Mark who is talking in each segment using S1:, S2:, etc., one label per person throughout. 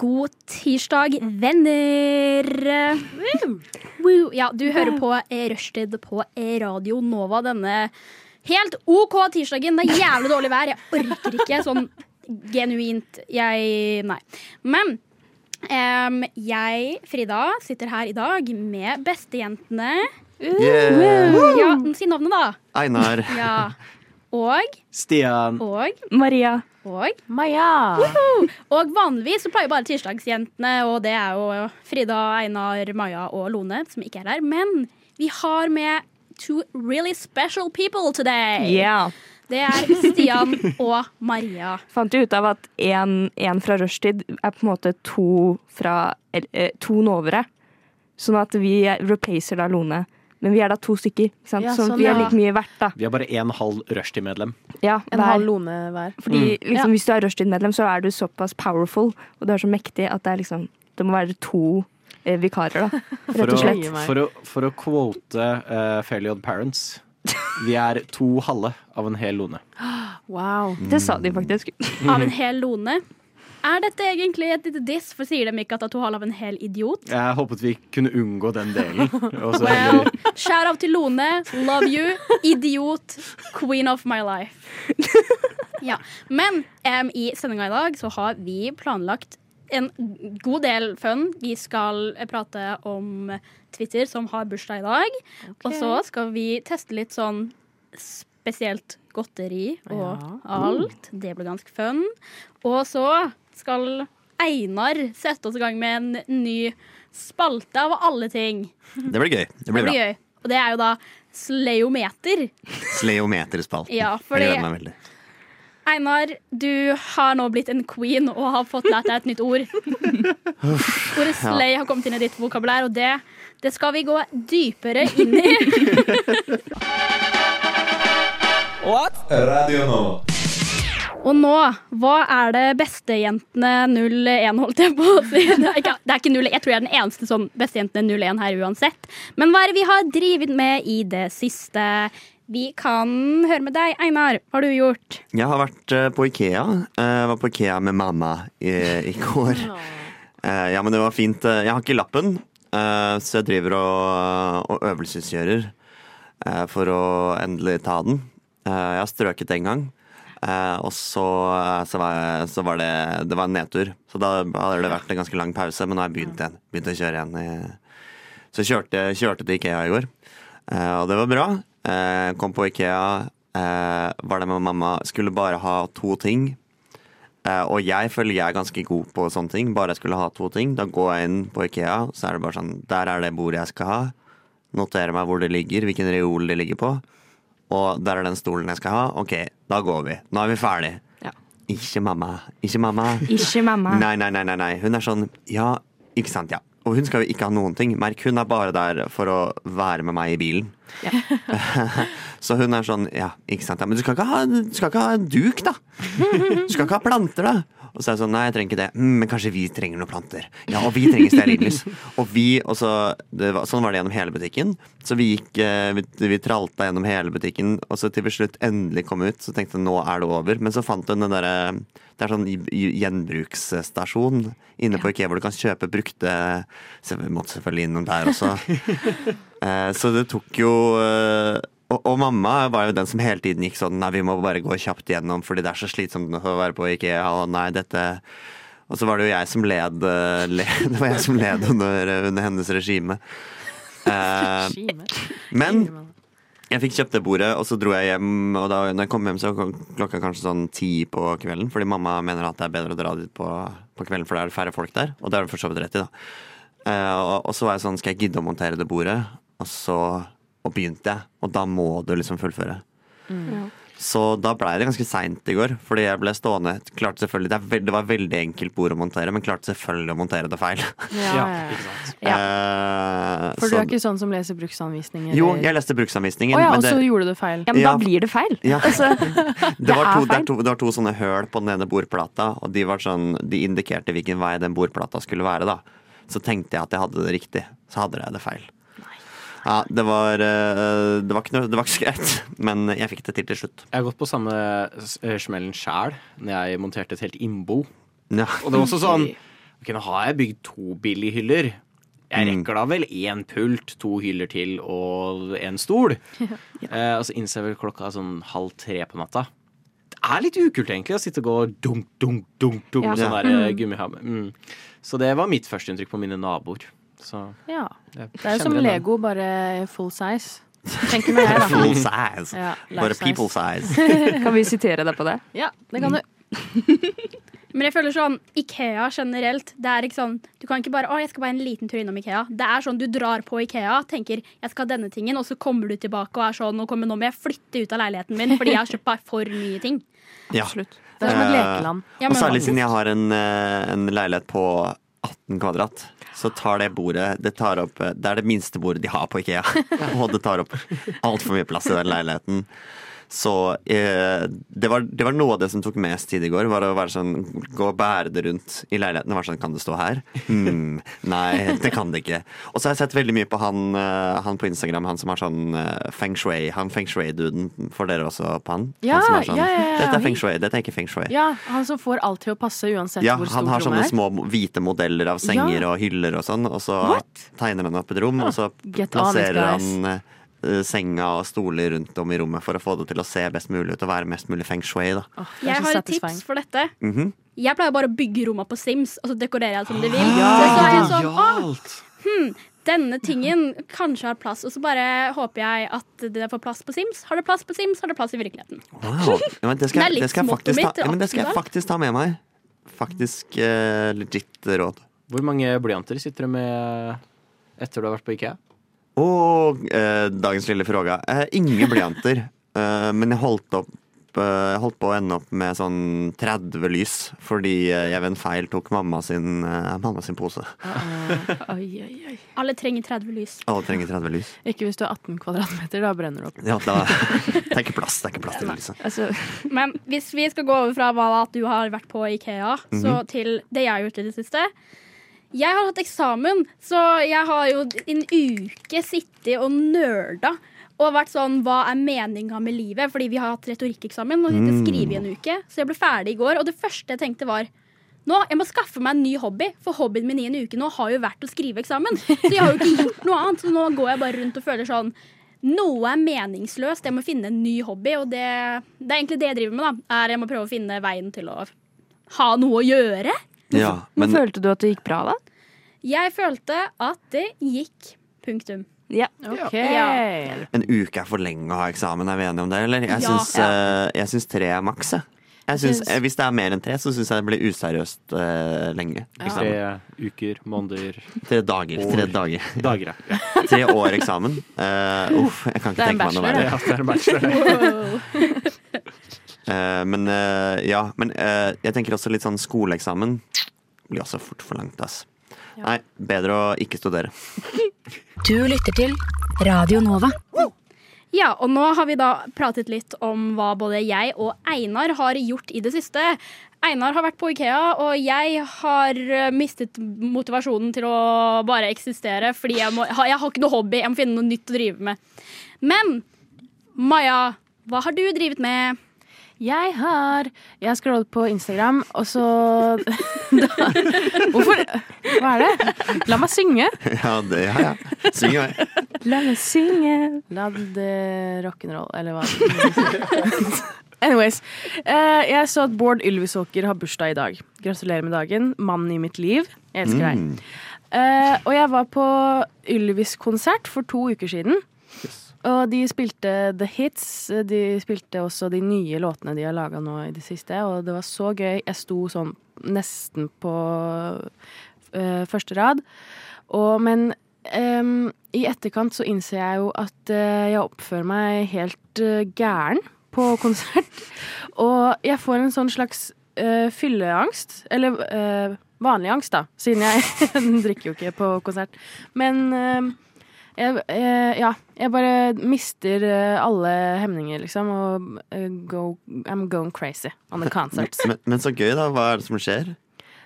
S1: God tirsdag, venner! Woo. Ja, du hører på eh, Rushtid på eh, Radio Nova denne helt OK tirsdagen. Det er jævlig dårlig vær. Jeg orker ikke sånn genuint Jeg Nei. Men em, jeg, Frida, sitter her i dag med bestejentene.
S2: Yeah.
S1: Ja, si navnet, da.
S2: Einar.
S1: Ja. Og,
S2: Stian.
S1: og,
S3: Maria.
S1: og
S3: Maja.
S1: Og vanligvis så pleier bare tirsdagsjentene, og det er jo Frida, Einar, Maja og Lone, som ikke er her. Men vi har med two really special people today.
S3: Yeah.
S1: Det er Stian og Maria.
S3: Fant jo ut av at én fra rushtid er på en måte to fra eller, eh, to novere. Sånn at vi er- replacer da Lone. Men vi er da to stykker, ikke sant?
S4: Ja,
S3: sånn,
S4: sånn,
S3: at vi er
S1: ja.
S3: like mye verdt, da.
S5: Vi har bare en halv rushtid-medlem.
S3: Ja,
S4: En
S3: hver.
S4: halv lone hver.
S3: Fordi liksom,
S1: Ja.
S3: Hvis du er rushtid-medlem, så er du såpass powerful og du er så mektig at det, er liksom, det må være to eh, vikarer, da.
S5: For,
S3: Rett og slett.
S5: å- for, å- for å quote eh, Fairly Odd Parents. Vi er to halve av en hel lone.
S4: Wow.
S5: Mm.
S3: Det sa de faktisk.
S1: Av en hel Lone. Er dette egentlig et lite diss, for sier de ikke at det er to halv av en hel idiot?
S5: Jeg håpet vi kunne unngå den delen. Og så
S1: Well,
S5: heller-
S1: shout out til Lone. Love you. Idiot. Queen of my life. Ja, Men em, i sendinga i dag så har vi planlagt en god del fun. Vi skal eh, prate om Twitter, som har bursdag i dag. Og så skal vi teste litt sånn spesielt godteri og alt. Det blir ganske fun. Og så skal Einar sette oss i gang med en ny spalte av alle ting.
S2: Det blir gøy. Det
S1: Det blir
S2: blir bra.
S1: gøy. Og det er jo da sleometer.
S2: Sleometerspalten.
S1: Ja, fordi-
S2: Jeg gleder meg veldig.
S1: Einar, du har nå blitt en queen og har fått lært deg et nytt ord. Ordet slay har kommet inn i ditt vokabulær, og det, det skal vi gå dypere inn i. Og nå, hva er det bestejentene 01 holdt jeg på å si? Det er ikke, det er ikke 01, jeg tror jeg er den eneste som bestejentene 01 her uansett. Men hva er det vi har drivet med i det siste? Vi kan høre med deg, Einar. Hva har du gjort?
S2: Jeg har vært eh, på Ikea. Eh, Jeg var på Ikea med mamma i, i går. Eh, Ja, men det var fint. Eh, Jeg har ikke lappen, eh, så jeg driver og, og øvelseskjører eh, for å endelig ta den. Eh, Jeg har strøket en gang. Eh, og så, eh, så, var jeg, så var det Det var en nedtur. Så da hadde det vært en ganske lang pause, men nå har jeg begynt igjen. Begynt å kjøre igjen. I, så jeg kjørte, kjørte til Ikea i går. Eh, og det var bra. Eh, kom på Ikea, eh, var det med mamma. Skulle bare ha to ting. Eh, og jeg føler jeg er ganske god på sånne ting. Bare jeg skulle ha to ting. Da går jeg inn på Ikea, så er det bare sånn Der er det bordet jeg skal ha. Noterer meg hvor det ligger, hvilken reol det ligger på. Og der er den stolen jeg skal ha. Ok, da går vi. Nå er vi ferdig.
S3: Ja.
S2: Ikke mamma. Ikke mamma.
S3: Ikke mamma.
S2: Nei, nei, nei, nei, nei. Hun er sånn Ja, ikke sant, ja. Og hun skal jo ikke ha noen ting. Merk, hun er bare der for å være med meg i bilen. Så hun er sånn Ja, ikke sant. Ja, men du skal ikke, ha, du skal ikke ha en duk, da. Du skal ikke ha planter, da. Og så er jeg sånn Nei, jeg trenger ikke det. Mm, men kanskje vi trenger noen planter. Ja, og vi trenger stearinlys. Og vi Og så det var, Sånn var det gjennom hele butikken. Så vi gikk eh, Vi, vi tralta gjennom hele butikken, og så til vi slutt endelig kom ut, så tenkte jeg nå er det over. Men så fant hun den derre Det er sånn i- i- gjenbruksstasjon inne på IKEA hvor du kan kjøpe brukte Så vi måtte selvfølgelig innom der også. Eh, Så det tok jo eh, og, og mamma var jo den som hele tiden gikk sånn Nei, vi må bare gå kjapt gjennom Fordi det er så slitsomt å være på IKEA Og nei, dette Og så var det jo jeg som led, eh, le, Det var jeg som led under, under hennes regime Eh, Men jeg fikk kjøpt det bordet, og så dro jeg hjem Og da når jeg kom hjem så var klokka kanskje sånn ti på kvelden Fordi mamma mener at det er bedre å dra dit på, på kvelden For det er færre folk der Og det er det for så vidt rett i da Eh, og, og så var jeg sånn, skal jeg gidde å montere det bordet? Og så og begynte jeg, og da må du liksom fullføre.
S4: Mm.
S2: Så da blei det ganske seint i går, fordi jeg ble stående. Klarte selvfølgelig, det, er veld, det var veldig enkelt bord å montere, men klarte selvfølgelig å montere det feil.
S4: Ja, ja, ja.
S2: Eh,
S4: For du er
S2: sånn-
S4: ikke sånn som leser bruksanvisninger?
S2: Jo,
S4: eller-
S2: jeg leste bruksanvisningen.
S4: Å ja,
S2: men
S4: og så
S2: det,
S4: gjorde du feil.
S3: Ja, men
S2: Ja.
S3: da blir det feil.
S2: ja. det, var
S3: er
S2: to, det,
S3: feil.
S2: er to, det var to sånne høl på den ene bordplata, og de, var sånn, de indikerte hvilken vei den bordplata skulle være. da. Så tenkte jeg at jeg hadde det riktig, så hadde jeg det feil. Ja, det var, eh, det var ikke noe, det var ikke så greit, men jeg fikk det til til slutt.
S5: Jeg har gått på samme s- eh, smellen sjæl når jeg monterte et helt innbo.
S2: Ja.
S5: Og det var også sånn Ok, nå har jeg bygd to billighyller. Jeg rekker da vel én pult, to hyller til og en stol. Eh, og så innser jeg vel klokka er sånn halv tre på natta. Det er litt ukult, egentlig, å sitte og gå dunk, dunk, dunk, dunk med
S2: Ja.
S5: sånn der eh, gummihammer. Mm. Så det var mitt førsteinntrykk på mine naboer. Så
S4: Ja.
S5: jeg
S4: Det er jo som
S5: kjenner igjen
S4: Lego, bare full size. Tenker meg jeg, da.
S2: Full size.
S4: Ja,
S2: Bare
S4: life size.
S2: people size.
S3: Kan vi sitere deg på det?
S4: Ja, det kan du.
S1: Men jeg føler sånn, Ikea generelt det er ikke sånn, Du kan ikke bare å, jeg skal bare en liten tur innom Ikea. Det er sånn, Du drar på Ikea, tenker jeg skal ha denne tingen, og så kommer du tilbake og er sånn nå, kommer, nå må jeg flytte ut av leiligheten min fordi jeg har kjøpt meg for mye ting.
S2: Ja.
S3: Absolutt.
S4: Det er som et
S2: Eh,
S4: lekeland.
S1: Ja,
S2: Og
S1: men-
S2: særlig siden jeg har en, eh, en leilighet på 18 kvadrat, så tar det bordet Det, tar opp, eh, det er det minste bordet de har på Ikea. Og det tar opp altfor mye plass i den leiligheten. Så eh, det, var, det var noe av det som tok mest tid i går, var å være sånn, gå og bære det rundt i leiligheten. Og være sånn, kan det stå her? Hmm, nei, det kan det ikke. Og så har jeg sett veldig mye på han, eh, han på Instagram, han som har sånn eh, feng shui. Han feng shui-duden, får dere også på han?
S4: Ja,
S2: han som er sånn,
S4: ja, ja, ja.
S2: Dette er feng shui, dette er ikke feng shui.
S4: Ja, han som får alt til å passe uansett
S2: Ja,
S4: hvor
S2: han
S4: stort
S2: har sånne
S4: rommet er.
S2: små hvite modeller av senger og hyller og sånn, og så tegner han opp et rom, og så
S4: Ah, Get on it,
S2: plasserer
S4: guys.
S2: han eh, senga og stoler rundt om i rommet for å få det til å se best mulig ut og være mest mulig feng shui. Da.
S4: Åh, det er så
S1: Jeg har et
S4: satisfying.
S1: tips for dette.
S2: Mhm.
S1: Jeg pleier bare å bygge rommet på Sims, og så dekorerer jeg det som det vil. Så, så er jeg sånn, å, hmm, denne tingen kanskje har plass, og så bare håper jeg at det får plass på Sims. Har det plass på Sims, har det plass i virkeligheten.
S2: Wow. Ja, men det
S1: Det er
S2: skal, jeg-
S1: litt
S2: det, skal jeg
S1: smått
S2: faktisk
S1: mitt,
S2: ta, ja, men det skal jeg
S1: absolutt.
S2: faktisk ta med meg. Faktisk eh, legit råd.
S5: Hvor mange blyanter sitter du med eh, etter du har vært på IKEA?
S2: Og eh, dagens lille fråga. Eh, ingen blyanter, eh, men jeg holdt opp eh, holdt på å ende opp med sånn 30 lys fordi eh, jeg ved en feil tok mamma sin, eh, mamma sin pose.
S4: eh. Oi, oi, oi.
S1: Alle trenger 30 lys.
S2: Alle trenger 30 lys.
S4: Ikke hvis du er 18 kvadratmeter, da brenner du opp.
S2: Ja, da, det er ikke plass, det er ikke plass til det. Liksom.
S3: Altså,
S1: Men hvis vi skal gå over fra hva at du har vært på Ikea, så til det jeg har gjort i det siste. Jeg har hatt eksamen, så jeg har jo en uke sittet og nerda. Og vært sånn, hva er meninga med livet? Fordi vi har hatt retorikkeksamen og sitter skrive i en uke. Så jeg ble ferdig i går, og det første jeg tenkte var nå, jeg må skaffe meg en ny hobby, for hobbyen min i en uke nå har jo vært å skrive eksamen. Så jeg har jo ikke gjort noe annet, så nå går jeg bare rundt og føler sånn noe er meningsløst. Jeg må finne en ny hobby, og det, det er egentlig det jeg driver med. da, er Jeg må prøve å finne veien til å ha noe å gjøre.
S2: Ja,
S3: men,
S2: men
S3: følte du at det gikk bra, da?
S1: Jeg følte at det gikk. Punktum.
S3: Ja.
S4: Ok.
S1: Ja.
S2: en uke er for lenge å ha eksamen, er vi enige om det, eller? Jeg
S1: Ja.
S2: syns, eh, jeg syns tre er maks, jeg. Jeg syns-
S4: Syns-
S2: eh, hvis det er mer enn tre, så syns jeg det blir useriøst eh, lenge.
S5: Tre
S2: Eksamen.
S5: uker, måneder,
S2: Tre dager. Tre dager.
S5: dager. ja.
S2: Tre år eksamen. Eh, uff, jeg kan
S4: Det
S2: ikke
S4: er en
S2: tenke meg noe
S4: bachelor,
S2: verre.
S4: det.
S5: Ja, det er en bachelor.
S2: Eh, men eh, ja, men eh, jeg tenker også litt sånn skoleeksamen blir også fort for langt, ass. Nei, bedre å ikke studere.
S6: Du lytter til Radio Nova.
S1: Ja, og nå har vi da pratet litt om hva både jeg og Einar har gjort i det siste. Einar har vært på Ikea, og jeg har eh, mistet motivasjonen til å bare eksistere, fordi jeg, må, ha- jeg har ikke noe hobby, jeg må finne noe nytt å drive med. Men Maja, hva har du drevet med?
S4: Jeg har Jeg scrollet på Instagram, og så da, Hvorfor? Hva er det? La meg synge.
S2: Ja, det, ja, ja. Syng i vei.
S3: La meg synge.
S4: La det eh, rock'n'roll, eller hva? Anyways. eh, jeg så at Bård Ylvisåker har bursdag i dag. Gratulerer med dagen. Mannen i mitt liv. Jeg elsker deg. Eh, og jeg var på Ylvis-konsert for to uker siden. Og de spilte the hits. De spilte også de nye låtene de har laga nå i det siste, og det var så gøy. Jeg sto sånn nesten på eh, første rad. Og, men em, i etterkant så innser jeg jo at eh, jeg oppfører meg helt eh, gæren på konsert. Og jeg får en sånn slags eh, fylleangst, eller eh, vanlig angst, da, siden jeg drikker jo ikke på konsert. Men eh, Jeg, jeg, ja, jeg bare mister eh, alle hemninger, liksom. Og eh, go, I'm going crazy on the concerts.
S2: Men, men så gøy, da. Hva er det som skjer?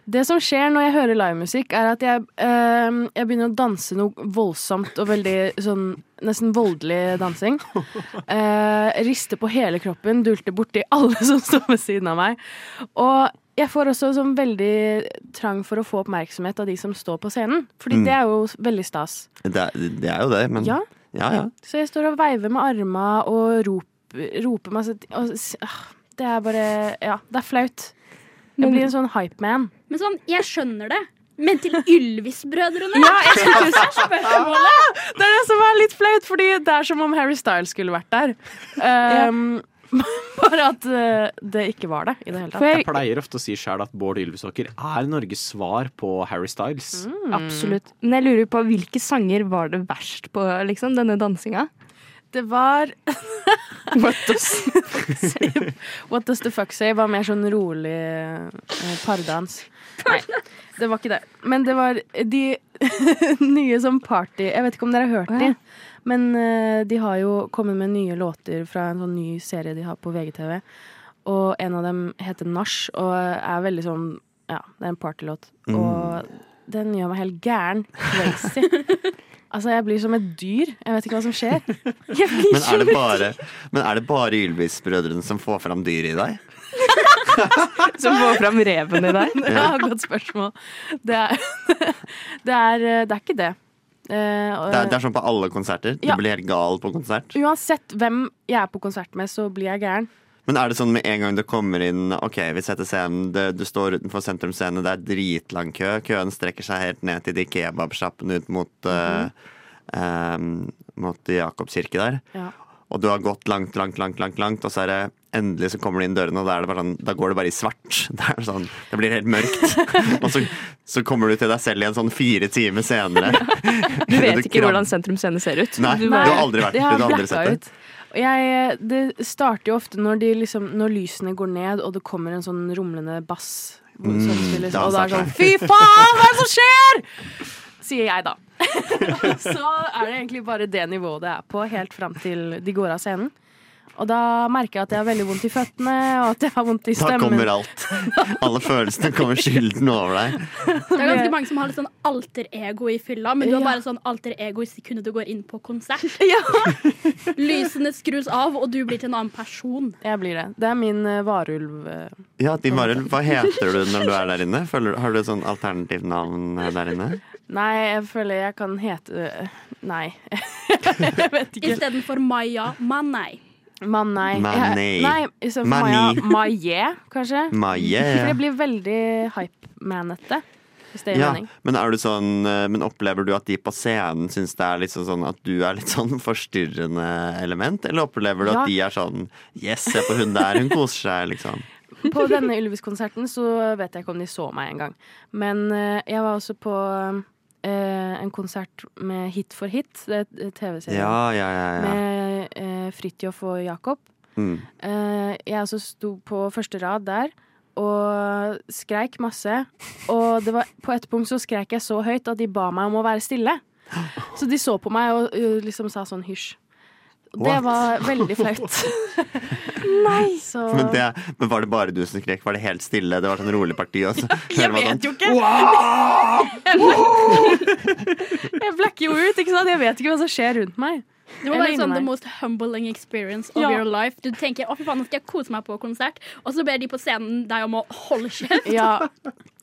S4: Det som skjer når jeg hører livemusikk, er at jeg, eh, jeg begynner å danse noe voldsomt og veldig sånn nesten voldelig dansing. Eh, rister på hele kroppen, dulter borti alle som står ved siden av meg. Og jeg får også sånn veldig trang for å få oppmerksomhet av de som står på scenen. Fordi det er jo veldig stas.
S2: Det, er- det er jo det, men
S4: Ja.
S2: ja. ja.
S4: Så jeg står og veiver med arma og roper, roper masse t- og, s- ah, Det er bare Ja, det er flaut. Jeg blir en sånn hypeman.
S1: Men sånn, jeg skjønner det. Men til Ylvis-brødrene?
S4: Ah, Det er det som er litt flaut, fordi det er som om Harry Styles skulle vært der. Um, bare at eh, det ikke var det i det hele tatt.
S5: Jeg pleier ofte å si sjøl at Bård Ylvisåker er Norges svar på Harry Styles.
S4: Mm,
S3: Absolutt. Men jeg lurer på hvilke sanger var det verst på, liksom, denne dansinga?
S4: Det var
S3: What does-
S4: What Does The Fuck Say var mer sånn rolig eh, pardans. Nei, det var ikke det. Men det var de nye som party Jeg vet ikke om dere har hørt de, men eh, de har jo kommet med nye låter fra en sånn ny serie de har på VGTV. Og en av dem heter Nach og er veldig sånn Ja, det er en partylåt. Og den gjør meg helt gæren. Crazy. altså, jeg blir som et dyr. Jeg vet ikke hva som skjer. Jeg blir
S2: Men er det bare, men er det bare Ylvis-brødrene som får fram dyret i deg?
S3: Som får fram reven i deg?
S4: Ja, godt spørsmål. Det er, det er, det er ikke det. Eh, og-
S2: Det er, det er sånn på alle konserter. Du
S4: Ja.
S2: blir helt gal på konsert.
S4: Uansett hvem jeg er på konsert med, så blir jeg gæren.
S2: Men er det sånn med en gang du kommer inn Ok, vi setter scenen det, Du står utenfor sentrum scene, det er dritlang kø Køen strekker seg helt ned til de kebabsjappene Ut mot
S3: Mhm.
S2: eh, em, Mot Jakobs kirke der
S4: Ja.
S2: Og du har gått langt, langt, langt, langt, langt Og så er det endelig så kommer du inn dørene Og da, er det bare sånn, da går det bare i svart Det, er sånn, det blir helt mørkt Og så, så kommer du til deg selv igjen sånn fire timer senere
S3: Du vet ikke
S2: kram-
S3: hvordan Sentrum Scene ser ut.
S2: Nei,
S3: Du
S2: du har
S3: bare-
S2: aldri vært
S4: Jeg
S2: du
S4: har
S2: har aldri sett
S4: blacka
S2: det
S4: ut. Og jeg, det starter jo ofte når, de liksom, når lysene går ned, og det kommer en sånn rumlende bass. hvor
S2: Mm,
S4: sangspiller-
S2: da
S4: og da er det
S2: starter
S4: sånn Fy faen, hva er det som skjer?! Sier jeg, da. så er det egentlig bare det nivået det er på, helt fram til de går av scenen. Og da merker jeg at jeg har veldig vondt i føttene, og at jeg har vondt i
S2: Da
S4: stemmen.
S2: kommer alt Alle følelsene kommer skylden over deg
S1: Det er ganske mange som har litt sånn alter ego i fylla, men du har
S4: Ja.
S1: bare sånn alter ego i sekundet du går inn på konsert.
S4: Ja.
S1: Lysene skrus av, og du blir til en annen person.
S4: Jeg blir det. Det er min uh, varulv. eh.
S2: Ja, de bare, Hva heter du når du er der inne? Føler, har du et sånn alternativt navn eh, der inne?
S4: Nei, jeg føler jeg kan hete eh, Nei. jeg vet ikke.
S1: Istedenfor Maya Manei.
S4: Man, nei.
S2: Man,
S4: Jeg-
S2: nei.
S4: nei istedenfor
S2: Man,
S4: Maja.
S2: nei.
S4: Maje, kanskje.
S2: Maje.
S4: For jeg blir veldig hype-manete, hvis det gir
S2: Ja,
S4: mening.
S2: men, er du sånn, eh, men opplever du at de på scenen syns det er litt sånn sånn at du er litt sånn forstyrrende element? Eller opplever du
S4: Ja.
S2: at de er sånn Yes, se på hun der, hun koser seg, liksom.
S4: På denne Ylvis-konserten så vet jeg ikke om de så meg engang. Men eh, jeg var også på eh, en konsert med Hit for hit, det er et eh, TV-serie.
S2: Ja, ja, ja. ja.
S4: Med uh, Fridtjof og Jakob.
S2: Mm.
S4: Eh, jeg også sto på første rad der og skreik masse. Og det var, på et punkt så skreik jeg så høyt at de ba meg om å være stille. Så de så på meg og eh, liksom sa sånn hysj. Det
S2: What?
S4: var veldig flaut. Nei! Så
S2: Men, det, men var det bare du som skrek? Var det helt stille? Det var sånn rolig parti? Og så, hører
S4: Jeg
S2: man
S4: vet
S2: sånn,
S4: jo ikke! jeg blacker jo ut, ikke sant? Jeg vet ikke hva som skjer rundt meg.
S1: Det var
S4: Eller
S1: bare sånn
S4: inni
S1: the
S4: meg.
S1: most humbling experience of
S4: Ja.
S1: your life. Du tenker 'å, fy faen, nå skal jeg kose meg på konsert', og så ber de på scenen deg om å holde kjeft.
S4: Ja,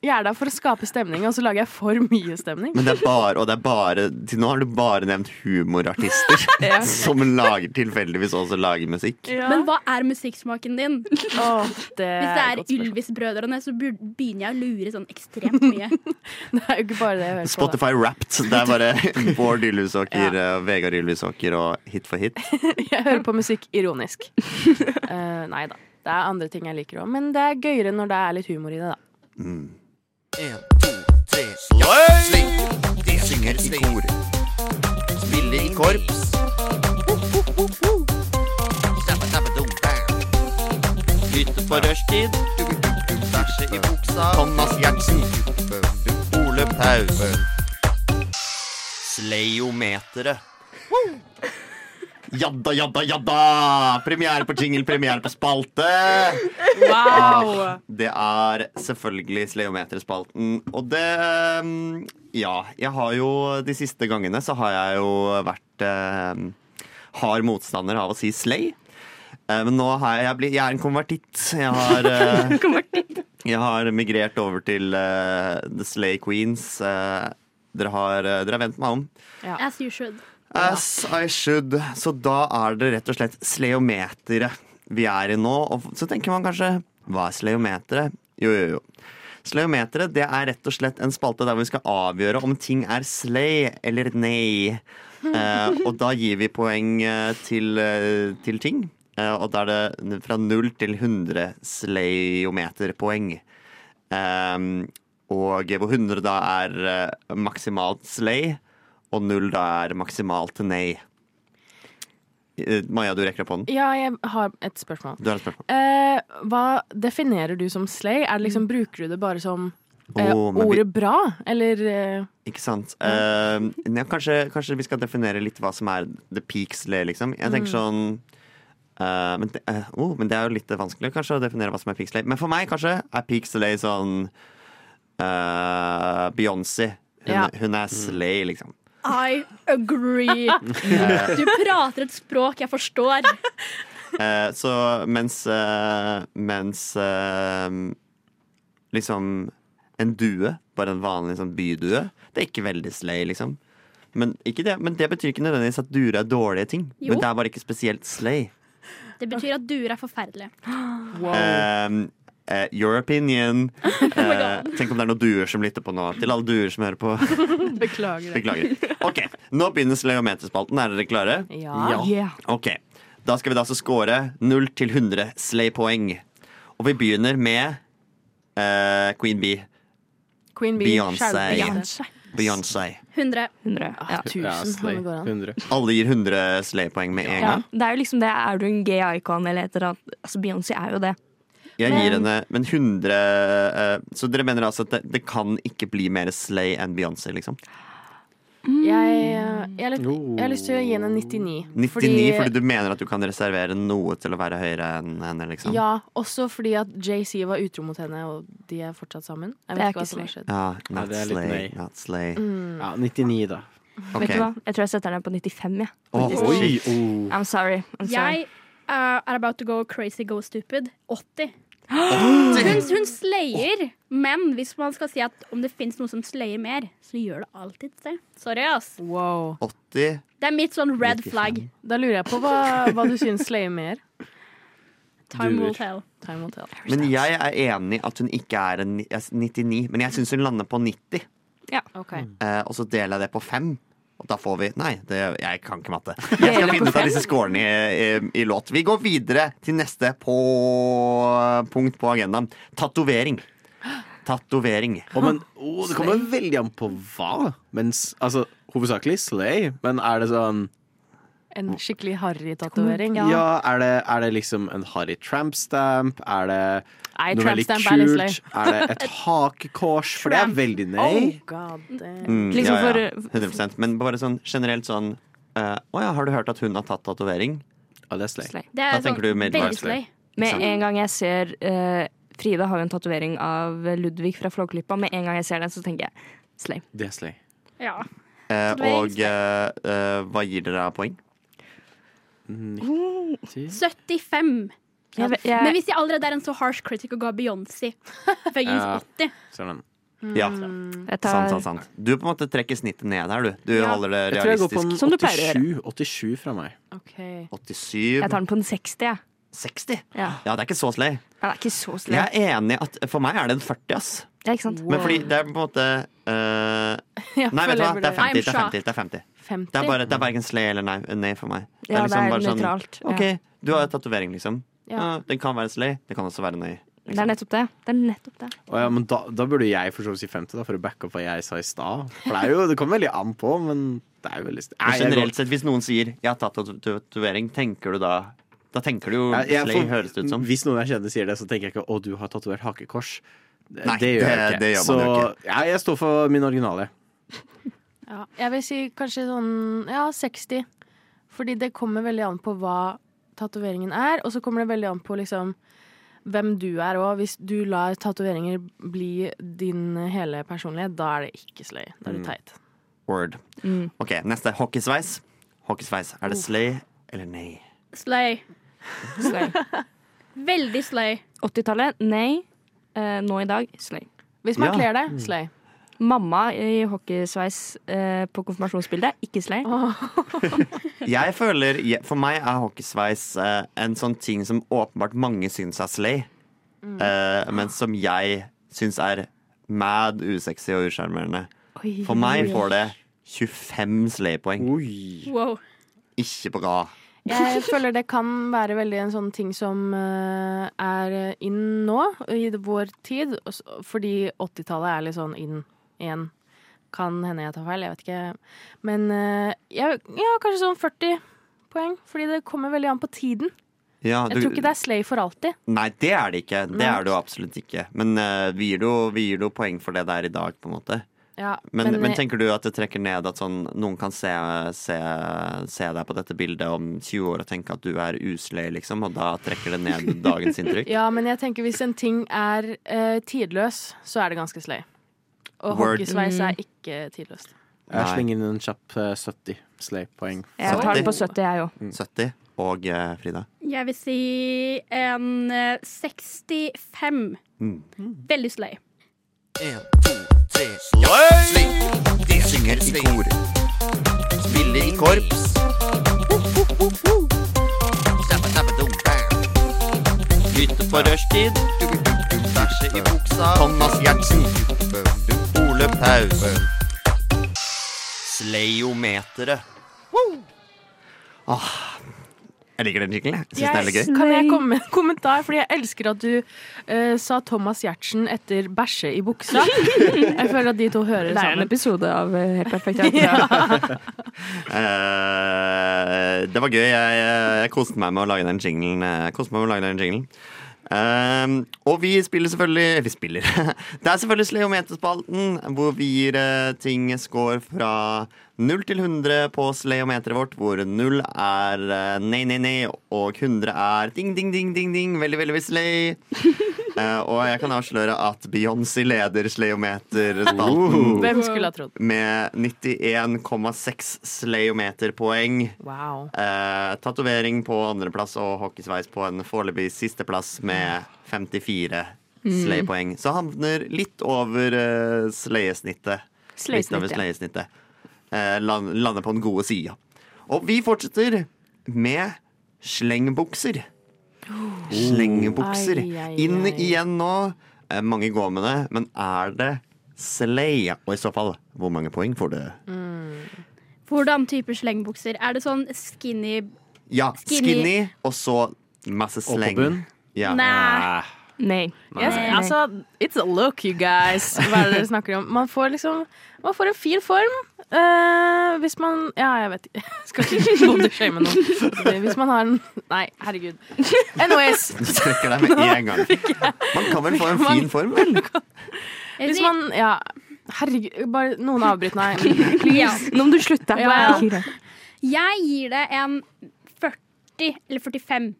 S4: jeg er der for å skape stemning, og så lager jeg for mye stemning.
S2: Men det er bare, og det er bare Til nå har du bare nevnt humorartister som lager tilfeldigvis også lager musikk.
S1: Men hva er musikksmaken din? Hvis
S4: Åh, det
S1: det
S4: er
S1: er
S4: et godt spørsmål.
S1: Ylvis-brødrene, så bur- begynner jeg å lure sånn ekstremt mye.
S4: Det er jo ikke bare det jeg hører på. da.
S2: Spotify Wrapped. Det er bare Bård Ylvisåker, eh, Vegard Ylvisåker og Hit for hit.
S4: Jeg hører på musikk ironisk. Eh, nei da. Det er andre ting jeg liker òg, men det er gøyere når det er litt humor i det, da.
S7: De synger i kor. Spiller i korps. Lytte på rushtid. Bæsje i buksa. Thomas Gjertsen. Ole Paus. Sleiometeret.
S2: Jadda, jadda, jadda! Premiere på jingle, premiere på spalte!
S4: Wow!
S2: Det er selvfølgelig Sleometerspalten. Og det mm, Ja, jeg har jo de siste gangene så har jeg jo vært eh, hard motstander av å si slay. Eh, men nå har jeg, jeg, blir- jeg er en konvertitt. Jeg har, eh, jeg har migrert over til eh, The Slay Queens. Eh, dere har, eh, dere har vent meg om.
S1: As you should.
S2: As I should. Så da er det rett og slett sleometeret vi er i nå. Og så tenker man kanskje hva er sleometeret? Jo, jo, jo. Sleometeret det er rett og slett en spalte der vi skal avgjøre om ting er slay eller nei. Eh, og da gir vi poeng eh, til, eh, til ting. Eh, og da er det fra 0 til 100 sleiometerpoeng. Ehm, og hvor 100 da er eh, maksimalt slay, og 0 da er maksimalt nei. Eh, Maja, du rekker opp hånden.
S4: Ja, jeg har et spørsmål.
S2: Du har et spørsmål.
S4: Eh, hva definerer du som slay? Er det liksom, bruker du det bare som eh,
S2: Åh, men vi-
S4: ordet bra? Eller eh,
S2: Ikke sant? Eh, nei, kanskje, kanskje vi skal definere litt hva som er the peak slay, liksom. Jeg tenker sånn
S4: Mm.
S2: eh, men, det, eh, oh, men det er jo litt vanskelig kanskje å definere hva som er peak slay. Men for meg kanskje er peak slay sånn eh, Beyoncé. Hun,
S4: Ja.
S2: hun er slay, liksom.
S1: I agree. Du prater et språk jeg forstår.
S2: Eh, så mens eh, Mens eh, liksom en due, bare en vanlig sånn bydue, det er ikke veldig slay, liksom. Men, ikke det, men det betyr ikke nødvendigvis at duer er dårlige ting.
S1: Jo.
S2: Men det er bare ikke spesielt slay.
S1: Det betyr at duer er forferdelige.
S4: wow.
S2: Ehm, eh, your opinion. Eh, tenk om det er noen duer som lytter på nå. Til alle duer som hører på.
S4: Beklager. det.
S2: Beklager. Ok, Nå begynner sleometerspalten. Er dere klare?
S4: Ja.
S3: Yeah.
S2: Ok, Da skal vi da altså score 0 til 100 slay-poeng. Og vi begynner med eh, Queen Bee.
S4: Queen Bee.
S2: Beyoncé.
S4: Beyoncé.
S2: Beyoncé.
S1: 100.
S3: 100. Ja.
S4: Tusen, om
S5: slay.
S4: det går an.
S5: 100.
S2: Alle gir 100 slay-poeng med en
S3: Ja.
S2: gang.
S3: Det er jo liksom det, er du en gay icon eller et eller annet Altså, Beyoncé er jo det.
S2: Jeg gir henne Men 100 eh, Så dere mener altså at det, det kan ikke bli mer slay enn Beyoncé, liksom?
S4: Jeg, eh, jeg, har litt, jeg har lyst til å gi henne 99.
S2: 99 fordi, du mener at du kan reservere noe til å være høyere enn henne, liksom?
S4: Ja, også fordi at JC var utro mot henne, og de er fortsatt sammen. Jeg
S3: Det
S4: vet
S3: er
S4: ikke hva
S3: ikke
S4: som har skjedd.
S2: Ja, not
S5: det er litt
S2: slay.
S5: nei.
S2: Not slay.
S4: Mm.
S5: Ja, 99, da.
S2: Ok.
S3: Mm. Vet du hva? Jeg tror jeg setter den på 95, jeg.
S2: Åh,
S5: Oi!
S2: shit.
S5: Oh.
S3: I'm sorry. I'm sorry.
S1: Jeg uh, er about to go crazy, go stupid. 80. Hun, hun slayer, men hvis man skal si at om det fins noe som slayer mer, så gjør det alltid det. Sorry, ass.
S4: Wow.
S2: 80
S1: Det er mitt sånn red flag.
S4: Da lurer jeg på hva, hva du syns slayer mer.
S1: Time
S5: Duer.
S1: will tell.
S4: Time will tell.
S2: Men jeg er enig at hun ikke er en ni- altså 99, men jeg syns hun lander på 90.
S4: Ok.
S2: Eh, og så deler jeg det på 5. Og da får vi Nei, det, jeg kan ikke matte. Jeg skal finne ut av disse scorene i, i, i låt. Vi går videre til neste på, punkt på agendaen. Tatovering. Tatovering.
S5: Å, men, å, det kommer veldig an på hva. Mens, altså, hovedsakelig slay, men er det sånn
S4: En skikkelig harry tatovering.
S5: Ja, er, det, er det liksom en harry tramp stamp? Er det
S4: Nei,
S5: noe
S4: tramp
S5: veldig
S4: stamp er litt slay.
S5: kult? Er det et hakekors? For det er veldig nei.
S4: Oh god damn.
S2: Mm,
S3: Liksom
S2: ja, ja,
S3: for-
S2: 100 Men bare sånn generelt sånn eh, Å ja, har du hørt at hun har tatt tatovering?
S5: Ja, det er slay.
S3: Slay.
S1: Det er
S2: Da tenker du
S1: sånn,
S2: Made by
S1: veldig
S2: Slay.
S1: slay.
S3: Med en gang jeg ser eh, Frida har jo en tatovering av Ludvig fra Flåklypa. Med en gang jeg ser den, så tenker jeg slay.
S5: Det er slay.
S1: Ja.
S2: Eh,
S1: Tatovering,
S2: og eh, eh, hva gir dere av poeng?
S1: 75.
S3: Jeg, jeg,
S1: Men hvis jeg allerede er en så harsh critic og ga Beyoncé for jeg gir
S5: Ja.
S1: 80
S5: Ser den.
S3: Mm,
S2: Ja,
S3: jeg tar
S2: sant, sant, sant. Du på en måte trekker snittet ned her, du. Du holder det
S5: Jeg tror jeg går på
S2: realistisk.
S5: en
S3: Som du pleier
S5: 87,
S3: å
S5: 87 fra meg.
S4: Ok.
S2: 87
S3: Jeg tar den på en 60, jeg.
S2: 60?
S3: Ja.
S2: Ja, det er ikke så slay.
S3: Den er ikke så slem.
S2: Jeg er enig at for meg er det en 40, ass.
S3: Ja, ikke sant?
S2: Men fordi det er på en måte eh,
S4: Jeg
S2: Nei, vet du hva,
S4: føler
S2: det er
S4: jeg
S2: 50. Det
S1: I'm
S2: er 50, det er 50.
S4: 50.
S2: Det er bare, det er verken slay eller nei, nei for meg.
S3: Ja, det er
S2: bare sånn,
S3: nøytralt. Ja.
S2: OK, du har tatovering, liksom.
S4: Ja.
S2: Ja, den kan være slay, den kan også være nei. liksom.
S3: Det er nettopp det. Det er nettopp det.
S5: Å ja, men da, da burde jeg for så vidt si 50, da, for å backe opp hva jeg sa i stad. For det, er jo, det kommer veldig an på, men det er jo veldig
S2: Men
S5: Nei, jeg går-
S2: generelt sett, hvis noen sier 'jeg har tatt tatu- tatovering', tenker du da Da tenker du jo
S5: Jeg- jeg
S2: slay,
S5: får- Mm.
S2: høres det ut som.
S5: Hvis noen jeg kjenner sier det, så tenker jeg ikke 'å, du har tatovert hakekors'. Det,
S2: Nei,
S5: det gjør
S2: det-
S5: jeg ikke.
S2: det gjør
S5: så
S2: man jo
S5: Ja, jeg står for min originale.
S4: Ja, jeg vil si kanskje sånn ja, 60. Fordi det kommer veldig an på hva tatoveringen er, og så kommer det veldig an på liksom hvem du er òg. Hvis du lar tatoveringer bli din hele personlighet, da er det ikke sløy. Da
S2: Mm.
S4: er det teit.
S2: Word.
S3: Mm.
S2: Ok, neste. Hockeysveis. Hockeysveis. Er
S3: Oh.
S2: det slay eller nei?
S1: Slay.
S3: Slay.
S1: Veldig slay.
S3: 80-tallet, nei. Eh, nå i dag, slay.
S4: Hvis man
S2: Ja. Mm.
S4: kler det, sløy.
S3: Mamma i hockeysveis eh, på konfirmasjonsbildet, ikke slay.
S2: Jeg føler, je- For meg er hockeysveis eh, en sånn ting som åpenbart mange syns er slay,
S4: Mm.
S2: eh, men som jeg syns er mad usexy og usjarmerende. For meg får det 25 slay-poeng.
S5: Oi.
S1: Wow.
S2: Ikke bra.
S4: Jeg føler det kan være veldig en sånn ting som eh, er inn nå, i vår tid. og s- Fordi 80-tallet er litt sånn inn igjen. Kan hende jeg tar feil, jeg vet ikke. Men eh, jeg, ja, kanskje sånn 40 poeng. Fordi det kommer veldig an på tiden.
S2: Ja,
S4: Jeg tror ikke det er slay for alltid.
S2: Nei, det er det ikke. Det
S4: Nei.
S2: er det jo absolutt ikke. Men eh, vi gir det jo- vi gir det jo poeng for det det er i dag, på en måte.
S4: Ja,
S2: Men, men,
S4: eh,
S2: tenker du at det trekker ned at sånn, noen kan se, se, se deg på dette bildet om 20 år og tenke at du er usløy, liksom, og da trekker det ned dagens inntrykk?
S4: ja, men jeg tenker hvis en ting er eh, tidløs, så er det ganske slay. Og
S2: Word.
S4: hockeysveis er ikke tidløst.
S5: Jeg
S2: Nei.
S5: slenger inn en kjapp eh, 70 slay-poeng.
S3: Jeg tar den på 70, jeg òg.
S2: 70 og eh, Frida.
S1: Jeg vil si en eh, 65.
S2: Mm.
S1: Veldig slay.
S7: En, to, tre, slay! De synger i kor. Spiller i korps. Stabba, stabba, dum, bam. Hytte på rushtid. Bæsje i buksa. Thomas Gjertsen.
S2: Ole Paus. Sleiometeret. Åh, jeg liker den skikkelig. Jeg syns den er litt gøy.
S4: Kan jeg komme med en kommentar? Fordi jeg elsker at du eh, sa Thomas Gjertsen etter bæsje i buksa. Jeg føler at de to hører
S3: Det er en
S4: sammen.
S3: episode av eh, Helt perfekt. Ja.
S2: Eh, det var gøy. Jeg, jeg, jeg koste meg med å lage den jinglen. Jeg koste meg med å lage den jinglen. Ehm, og vi spiller selvfølgelig eh, Vi spiller. det er selvfølgelig Sleometerspalten, hvor vi gir eh, ting score fra 0 til 100 på sleometeret vårt, hvor 0 er eh, nei, nei, nei, og 100 er ding, ding, ding, ding, ding, veldig, veldig, veldig slay. Eh, og jeg kan avsløre at Beyoncé leder sleometerspalten
S4: Hvem skulle ha trodd?
S2: med 91,6 sleiometerpoeng.
S4: Wow.
S2: Eh, Tatovering på andreplass og hockeysveis på en foreløpig sisteplass med 54 sleiepoeng. Så havner litt over eh, sleiesnittet. Litt
S3: Sleisnitt,
S2: over
S3: ja.
S2: sleiesnittet. Eh, land, lander på den gode sida. Og vi fortsetter med slengbukser. Slengbukser.
S4: Ai, ai,
S2: Inn
S4: ai.
S2: igjen nå. Eh, mange går med det, men er det slay? Og i så fall, hvor mange poeng får du?
S1: Hvordan type slengbukser? Er det sånn skinny
S2: Ja,
S1: Skinny.
S2: skinny, og så masse
S5: på
S2: sleng.
S5: bunn?
S2: Ja.
S1: Nei.
S5: Eh,
S3: Nei.
S4: Yes, altså, it's a look, you guys. Hva er det dere snakker om? Man får liksom Man får en fin form. eh, hvis man Ja, jeg vet ikke. Skal ikke bodyshame noen. Hvis man har en Nei, herregud. Anyways.
S2: Du strekker deg med en gang. Man kan vel få en fin form, vel?
S1: Jeg
S4: Hvis
S1: sier-
S4: man Ja. Herregud. Bare noen avbryt meg.
S1: ja.
S3: Nå må du slutte.
S1: Ja.
S3: Ikke greit.
S1: Jeg gir det en 40 eller 45.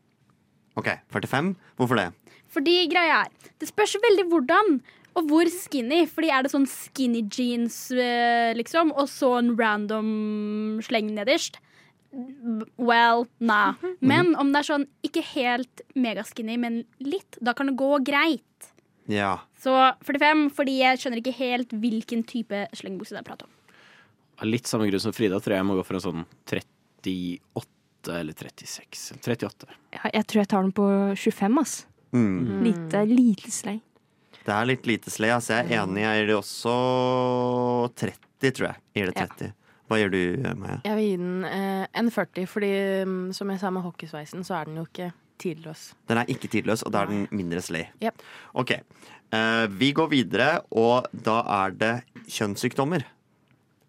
S2: Ok, 45. Hvorfor det?
S1: Fordi greia er Det spørs veldig hvordan og hvor skinny. Fordi er det sånn skinny jeans, eh, liksom, og så en random sleng nederst? Well, nah.
S4: Mhm.
S1: Men om det er sånn ikke helt megaskinny, men litt, da kan det gå greit.
S2: Ja.
S1: Så 45, fordi jeg skjønner ikke helt hvilken type slengbukse det er prat om.
S5: Av litt samme grunn som Frida, tror jeg jeg må gå for en sånn 38 eller 36. 38.
S3: Ja, jeg tror jeg tar den på 25, ass.
S2: Mm.
S3: Lite, lite slay.
S2: Det er litt lite slay, ass. Jeg er enig. Jeg gir det også 30, tror jeg. Jeg gir det 30. Hva gjør du, Maja?
S4: Jeg vil gi den eh, en 40, fordi mm, som jeg sa med hockeysveisen, så er den jo ikke tidløs.
S2: Den er ikke tidløs, og da er den mindre slay.
S4: Jep.
S2: Ok. Eh, vi går videre, og da er det kjønnssykdommer.
S5: Eh,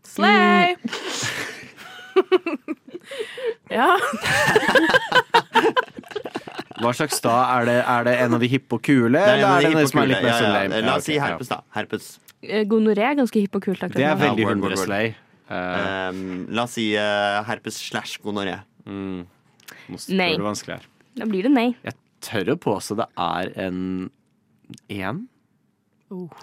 S4: Slay! ja.
S5: Hva slags da? Er det, er det en av de hippe og kule?
S2: Det er en av
S5: eller
S2: de
S5: er det en som er
S2: hippokule.
S5: litt mer
S2: Ja,
S5: sånn
S2: ja,
S5: lame?
S2: ja. La oss si
S5: Ja, ok,
S2: herpes, da. Herpes.
S3: Eh, Gonoré er ganske hipp og kult
S5: ja. Det er
S3: akkurat nå.
S5: veldig
S2: Ja, word, word, word.
S5: 100 slay. Eh,
S2: Ehm, la oss si eh, herpes slash gonoré.
S5: mm, nå
S3: Nei.
S5: spør du vanskelig her.
S3: Da blir det nei.
S5: Jeg tør å påstå det er en én.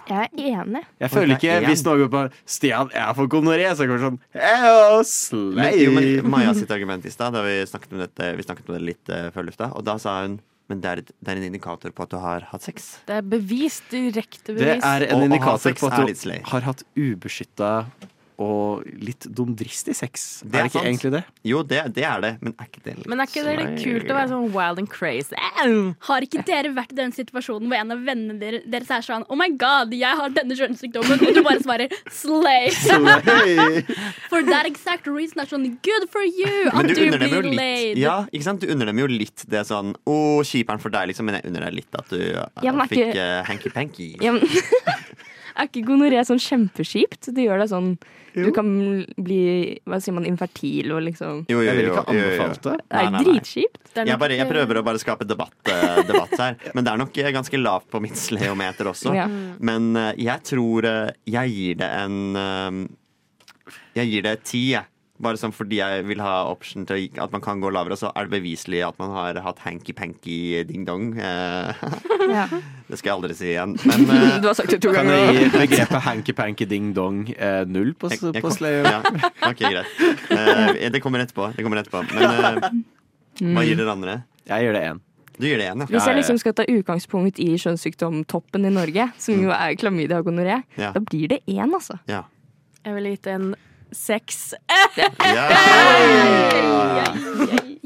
S3: Jeg er enig.
S5: Jeg
S2: Oi,
S5: føler
S2: det er
S5: ikke
S2: en.
S5: Hvis noen går på Stian, jeg får gonoré, så kommer det sånn «Eyo, slay!»
S2: Men, jo, men Maja sitt argument i stad, da vi snakket om dette Vi snakket om det litt eh, før lufta, og da sa hun men det er, et, det er en indikator på at du har hatt sex.
S4: Det er bevis. Direkte
S5: Det
S4: bevis.
S5: er
S2: Og å
S5: en
S2: ha
S5: indikator
S2: sex
S5: på
S2: er
S5: at
S2: litt
S5: du
S2: slay.
S5: har hatt ubeskytta og litt dumdristig sex.
S2: Det
S5: Det er,
S2: er
S5: det ikke
S2: sant.
S5: egentlig det?
S2: Jo, det, det er det, men er ikke det litt
S4: Men er ikke det litt kult å være sånn wild and crazy?
S1: Har ikke dere vært i den situasjonen hvor en av vennene dere- deres er sånn Oh my god, jeg har denne kjønnssykdommen, og du bare svarer slay. For that exact reason er sånn good for you
S2: Men
S1: at
S2: du
S1: du,
S2: unner dem jo
S1: blir
S2: litt
S1: laid.
S2: Ja, ikke sant? Du unner dem jo litt det sånn Å, kjiperen for deg, liksom, men jeg unner deg litt at du eh,
S3: Ja, men er
S2: fikk
S3: ikke-
S2: eh, hanky-panky.
S3: Ja, men- er ikke gonoré sånn kjempeskipt? Det gjør deg sånn Du kan bli hva sier man, infertil og liksom
S2: Jo, jo,
S5: Jeg ville
S2: jo,
S5: ikke
S2: jo, jo.
S5: anbefalt det.
S3: Det
S2: Nei,
S3: er
S2: nei, nei.
S3: dritskipt.
S4: Det er
S2: Jeg,
S4: nok
S2: bare, jeg
S4: ikke-
S2: prøver å bare skape debatt, eh, debatt her, men det er nok eh, ganske lavt på mitt sleometer også.
S3: Ja.
S2: Men eh, jeg tror eh, jeg gir det en eh, Jeg gir det ti, jeg. Bare sånn fordi jeg vil ha option til å- at man kan gå lavere, og så er det beviselig at man har hatt hanky-panky ding-dong. Eh,
S3: Ja.
S2: det skal jeg aldri si igjen. Men eh,
S3: Du har sagt det to
S5: Kan
S3: ganger.
S5: jeg gi
S3: nå.
S5: begrepet hanky-panky-ding-dong eh, null på,
S2: jeg, jeg
S5: på
S2: kom-
S5: slay?
S2: Ja, ok, greit. Eh, det kommer etterpå. Det kommer etterpå. Men eh, hva gir dere andre?
S5: Jeg gjør det én.
S2: Du gir det én, ja.
S3: Hvis jeg
S5: ja, ja.
S3: liksom skal ta utgangspunkt i kjønnssykdomtoppen i Norge, som jo er klamydia og gonoré,
S2: Ja.
S3: da blir det én, altså.
S2: ja.
S4: Jeg ville gitt en seks.
S2: Ja.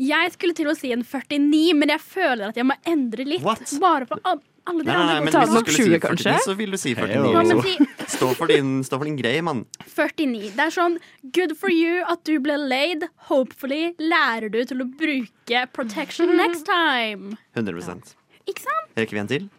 S1: Jeg skulle til å si en 49, men jeg føler at jeg må endre litt.
S2: What?
S1: Bare på al- alle de
S2: Nei, nei, nei,
S1: andre
S2: men hvis
S3: Ta
S2: du
S3: den opp
S2: skulle si
S3: 20,
S2: 49,
S3: kanskje?
S2: så vil du si
S1: Ja,
S2: 49.
S1: men
S2: liksom.
S1: si
S2: Stå for din, stå for din greie, mann.
S1: 49. Det er sånn good for you at du ble laid. Hopefully lærer du til å bruke protection next time.
S2: 100
S1: Ikke sant?
S2: Rekker vi en til?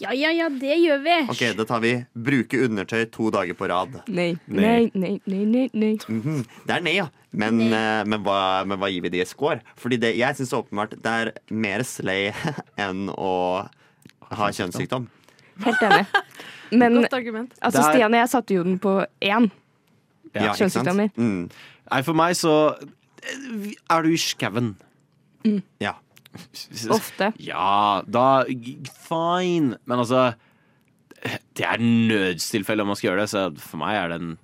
S1: Ja, ja, ja, det gjør vi.
S2: Ok, Da tar vi 'bruke undertøy to dager på rad'.
S3: Nei,
S5: Nei.
S3: nei, nei, nei, nei. nei.
S2: Mhm. Det er nei, ja. Men, eh, men, hva, men hva gir vi de i score? Fordi det, jeg syns åpenbart det er mer slay enn å ha kjønnssykdom.
S3: Helt enig. Men
S4: Godt argument.
S3: altså,
S5: Der-
S3: Stian og jeg satte jo den på én.
S2: Ja, ikke sant?
S3: Kjønnssykdommer.
S2: Mm,
S5: Nei, for meg så eh, er du i skauen.
S2: ja.
S3: Ofte.
S5: Ja, da g- Fine. Men altså Det er nødstilfelle om man skal gjøre det, så for meg er det en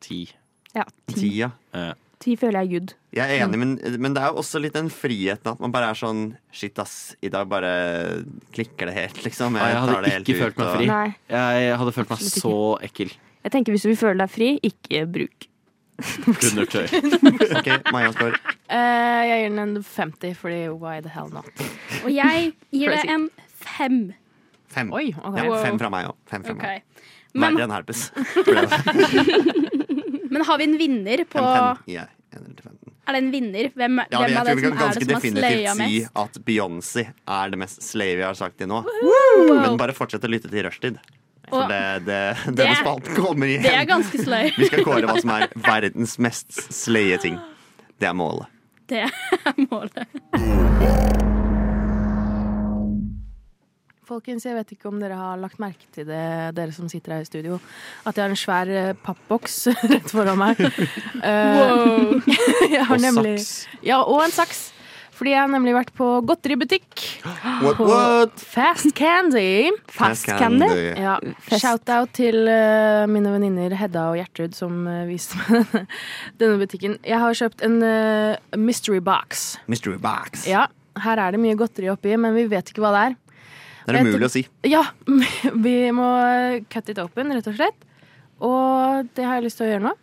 S5: ti.
S3: Ja, ti,
S2: Tida.
S3: ti føler jeg er good.
S2: Jeg er enig, men, men det er jo også litt den friheten at man bare er sånn Shit, ass. I dag bare klikker det helt, liksom.
S5: Nei, jeg hadde
S2: tar det helt
S5: ikke
S2: ut,
S5: følt meg
S2: og-
S5: fri.
S3: Nei.
S5: Jeg hadde følt meg
S3: Absolutt
S5: så ekkel.
S3: Jeg tenker Hvis du vil føle deg fri, ikke bruk.
S5: Undertøy.
S2: Ok, Maja spør.
S4: Eh, jeg gir den en 50, fordi why the hell not?
S1: Og jeg gir det
S3: Crazy.
S1: en fem.
S2: Fem.
S4: Oi, ok.
S2: Ja,
S1: Wow.
S2: fem fra meg òg. Fem fra meg.
S1: Men,
S2: Verre enn herpes.
S1: men har vi en vinner på
S2: En pen- ja, en eller fem.
S1: Er det en vinner? Hvem,
S2: Ja,
S1: hvem
S2: jeg
S1: av
S2: tror vi
S1: dere som
S2: kan
S1: er
S2: ganske
S1: det som har slaya
S2: definitivt si
S1: mest?
S2: at Beyoncé er det mest slave vi har sagt til nå. Men bare fortsett å lytte til Rushtid. For
S1: Og
S2: det, det,
S1: det-
S2: denne spalten kommer
S1: det er
S2: igjen.
S1: ganske slay.
S2: Vi skal kåre hva som er verdens mest slaye ting. Det er målet.
S1: Det er målet.
S4: Folkens, jeg vet ikke om dere har lagt merke til det, dere som sitter her i studio, at jeg har en svær eh, pappboks rett foran meg. wow. jeg har
S5: Og
S4: nemlig,
S5: saks.
S4: Ja, og en saks. Fordi jeg har nemlig vært på godteributikk.
S2: What,
S4: På
S2: what?
S4: Fast Candy.
S3: Fast candy.
S4: Ja,
S3: Fest.
S4: Shout-out til eh, mine venninner Hedda og Gjertrud som eh, viste meg denne butikken. Jeg har kjøpt en eh, mystery box.
S2: Mystery box.
S4: Ja, her er det mye godteri oppi, men vi vet ikke hva det er.
S2: Det er umulig å si.
S4: Ja, vi må cut it open, rett og slett. Og det har jeg lyst til å gjøre nå.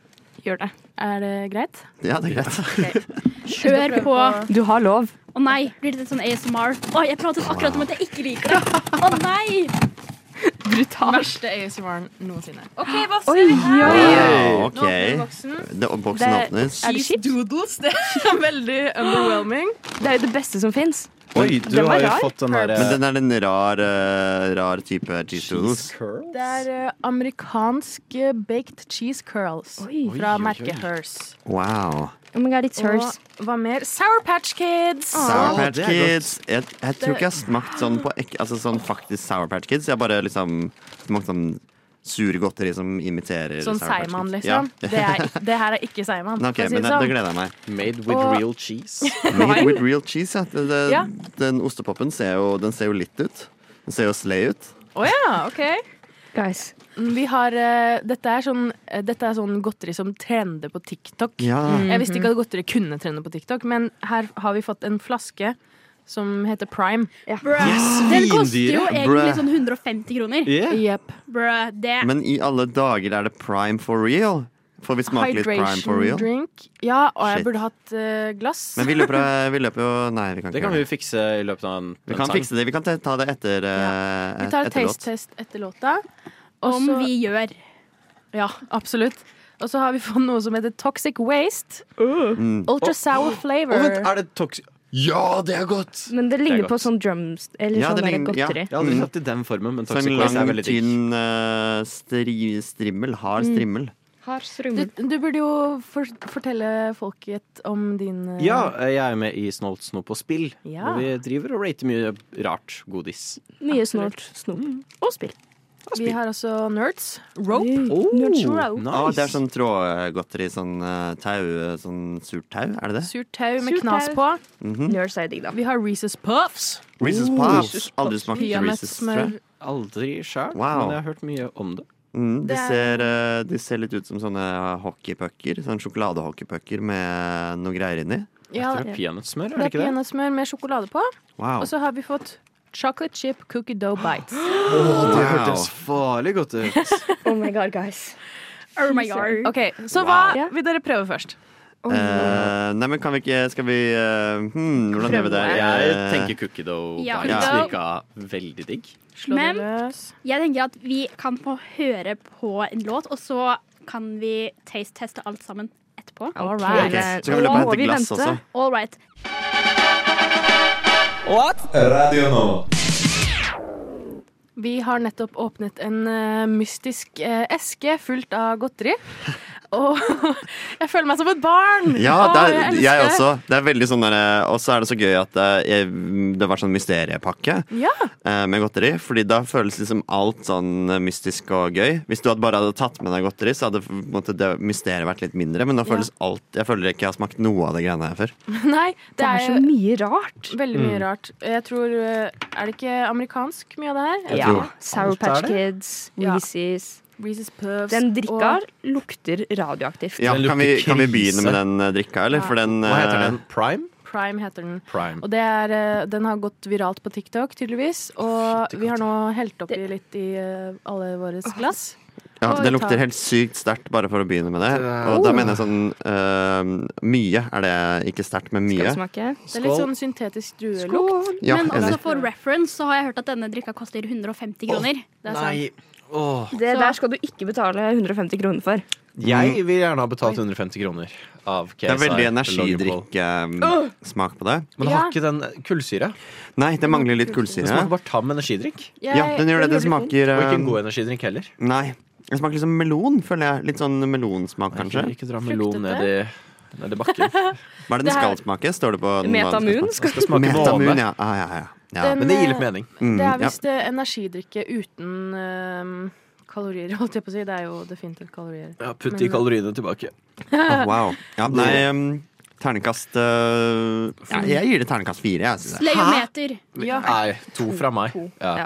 S3: Gjør det.
S4: Er det greit?
S2: Ja, det er greit.
S1: Kjør på. Å
S3: Du har lov.
S1: nei, blir det litt sånn ASMR? Å, jeg pratet akkurat om at jeg ikke liker det. Å nei!
S3: Brutalt.
S4: Verste ASMR-en noensinne.
S8: OK, hva
S3: Oi, oi, oi.
S2: Wow, ok.
S4: boksen.
S2: Det, og boksen
S3: Det-
S2: åpnes.
S3: Er det
S4: Cheese
S3: skitt?
S4: doodles. Det er veldig underwhelming.
S3: Det er jo det beste som fins.
S5: Oi, du
S3: Den var
S5: har jo
S3: rar.
S5: fått den eh, derre
S2: Men den er den rar, eh, rar type cheese doodles.
S4: Det er eh, amerikansk eh, baked cheese curls fra
S5: Oi, oi, oi.
S4: merket Hers.
S2: Wow.
S3: Oh my god, it's hers.
S4: Og hva mer? Sour Patch Kids!
S2: Sour Patch
S5: det er godt.
S2: Kids. Jeg, jeg tror ikke jeg har smakt sånn på ek, altså sånn faktisk Sour Patch Kids. Jeg har bare liksom smakt sånn surgodteri som imiterer
S4: Sånn
S2: Sour Patch Kids.
S4: seigmann,
S2: Ja.
S4: liksom. Det, er, det her er ikke seigmann.
S2: Nei, ok,
S4: for å si det
S2: men det, det
S4: sånn.
S2: gleder jeg meg.
S5: Made with
S4: Og-
S5: real cheese.
S2: Made with real cheese, ja. Det, det,
S4: Ja.
S2: Den ostepopen ser jo, den ser jo litt ut. Den ser jo slay ut.
S4: Å ja, ok.
S3: Guys.
S4: Vi har, eh, dette, er sånn, eh, dette er sånn godteri som trender på TikTok.
S2: Ja.
S4: Jeg visste ikke at godteri kunne trende på TikTok, men her har vi fått en flaske som heter Prime.
S1: Den koster jo
S5: Vindyret,
S1: egentlig
S2: bruh.
S1: sånn 150 kroner.
S5: Yeah.
S4: Yep.
S1: Bruh, det
S2: Men i alle dager er det prime for real. Får vi smake litt prime for
S4: Hydration
S2: real?
S4: drink. Ja, og jeg
S2: Shit.
S4: burde hatt eh, glass.
S2: Men vi løper, vi løper jo Nei, vi kan
S5: Det
S2: ikke
S5: kan
S2: gjøre
S5: vi
S2: det.
S5: fikse i løpet av en,
S2: Vi
S5: en
S2: kan
S5: sang.
S2: fikse det. Vi kan ta ta det etter, eh,
S4: Vi tar et
S2: etter låt.
S4: taste-test etter låta. Og
S1: om
S4: så-
S1: vi gjør.
S4: Ja, absolutt. Og så har vi fått noe som heter Toxic Waste.
S2: Mm.
S4: Ultra sour flavor.
S5: Å, vent, er det tox... Ja, det er godt!
S3: Men det
S5: Det
S3: ligner
S5: er
S3: på
S5: godt.
S3: sånn drums Eller
S2: Ja,
S3: sånn
S2: det
S3: der
S2: ligner- ja.
S3: godteri.
S5: Jeg har aldri
S2: Mm.
S5: kjøpt i den formen, men
S2: Så
S5: toxic
S2: en
S5: waste er
S2: lang,
S5: veldig digg.
S2: tynn eh, stri, strimmel. Hard
S4: Mm.
S2: strimmel.
S4: Du, du burde jo for, fortelle folket om din eh,
S5: Ja, jeg er med i Snolt, snop og spill,
S4: Ja.
S5: hvor vi driver og rater mye rart godis.
S3: Mye snort, snop og spill.
S4: Vi har også Nerds. Rope.
S5: Oh,
S2: Å, det er sånn trådgodteri. Sånn eh, tau. eh, Sånn surt tau, er det det?
S4: Surt tau med
S3: Surt
S4: knas
S3: tau.
S4: på.
S2: Mhm.
S3: Nerds er digg, da.
S4: Vi har Reeces Puffs.
S2: Reeces Puffs. Aldri smakt Reeces, tror
S4: Peanøttsmør.
S2: jeg.
S5: Aldri sjøl,
S2: Wow.
S5: men jeg har hørt mye om det.
S2: Mm, de,
S4: Det er-
S2: ser, eh, de ser litt ut som sånne hockeypucker. Sånn sjokoladehockeypucker med noe greier inni.
S4: Ja,
S5: det
S4: det
S5: er peanøttsmør, er
S4: er
S5: det ikke det?
S4: peanøttsmør med sjokolade på.
S2: Wow.
S4: Og så har vi fått Chocolate chip cookie dough bites.
S5: Det
S2: Wow.
S5: hørtes farlig godt ut.
S3: Oh my god, guys.
S1: Oh my god.
S4: Ok, Så
S2: Wow.
S4: hva
S3: Ja.
S4: vil dere prøve først?
S2: Eh, nei, men kan vi ikke Skal vi eh, hmm, Hvordan gjør vi det?
S5: Jeg
S2: Eh,
S5: tenker cookie dough
S1: Ja,
S5: bites
S1: dough.
S2: cookie
S5: virka veldig digg.
S4: Slå
S1: Men-
S4: det løs.
S1: Jeg tenker at vi kan få høre på en låt, og så kan vi taste-teste alt sammen etterpå.
S3: All
S2: ok, Så kan vi løpe og hente glass også.
S1: All right.
S4: Vi har nettopp åpnet en eh, mystisk eh, eske fullt av godteri. Og jeg føler meg som et barn!
S2: Ja,
S4: Å,
S2: det er,
S4: elsker
S2: jeg
S4: det.
S2: også. Det er veldig sånn derre- Og så er det så gøy at eh, jeg, det var sånn mysteriepakke
S4: Ja,
S2: eh, med godteri. Fordi da føles liksom alt sånn eh, mystisk og gøy. Hvis du hadde bare hadde tatt med deg godteri, så hadde på en måte, det mysteriet vært litt mindre. Men nå
S4: Ja.
S2: føles alt Jeg føler ikke jeg har smakt noe av det greiene her før.
S4: Nei, det,
S3: Det er
S4: er,
S3: så mye rart.
S4: jo veldig
S2: Mm.
S4: mye rart. Jeg tror eh, Er det ikke amerikansk mye av det her?
S3: Ja.
S2: tror-
S3: Sour
S5: Alt er
S3: Patch
S5: det.
S3: Kids,
S4: Ja.
S3: Reese's
S4: Reese's Puffs
S3: Den drikka
S4: og-
S3: lukter radioaktivt.
S2: Ja,
S5: Den lukter
S2: kan, vi, kan vi
S5: krise.
S2: begynne med den eh, drikka, eller? For den,
S5: Hva heter
S2: eh,
S5: den? Prime?
S4: Prime heter den.
S5: Prime.
S4: Og det er, eh, den har gått viralt på TikTok, tydeligvis. Og vi har nå helt oppi litt i eh, alle våre glass.
S2: Ja,
S4: Og
S2: det
S4: vi
S2: lukter
S4: tar-
S2: helt sykt sterkt, bare for å begynne med det. Og da mener jeg sånn øhm, Mye er det ikke sterkt, men
S3: Skal
S2: mye.
S3: vi smake?
S4: Det er litt sånn syntetisk druelukt.
S3: Skål.
S2: Ja,
S1: Men
S2: enig.
S1: også for reference så har jeg hørt at denne drikka koster 150 kroner. Det er sant.
S5: Nei. Åh.
S3: Det der skal du ikke betale 150 kroner for.
S5: Jeg vil gjerne ha betalt 150 kroner av KSI.
S2: Mm. Det er veldig
S5: Logipol.
S2: energidrikksmak på det.
S5: Men det har
S4: Ja.
S5: ikke den kulsyre.
S2: Nei, det mangler litt
S5: Den
S2: kullsyre.
S5: smaker bare tam energidrikk.
S2: Ja, den gjør det. Den smaker
S5: Og ikke en
S2: øhm,
S5: god energidrikk heller.
S2: Nei. Den smaker liksom melon, føler jeg. Litt sånn melonsmak, kanskje.
S5: Ikke, ikke dra melon
S4: Fruktete.
S5: ned i, ned i bakken.
S2: Hva er det den skal smake? Står det på den hva den
S3: Metamun.
S2: Skal
S5: Det skal
S3: Skal
S5: smake
S2: smake? Metamun,
S5: måne.
S2: ja. Ah, ja, ja, ja.
S4: Den-
S2: ja.
S5: Men det gir litt mening.
S2: Mm,
S4: Det er
S2: ja.
S4: visst eh, energidrikke uten eh, kalorier, holdt jeg på å si. Det er jo definitivt kalorier.
S5: Ja, Putt de
S4: Men-
S5: kaloriene tilbake.
S2: Åh, wow. Ja, nei, øhm, ternekast øh, ja, Jeg gir det ternekast fire, jeg. Synes jeg.
S1: Sleiometer.
S5: Nei, to fra meg. Ja.
S3: Ja.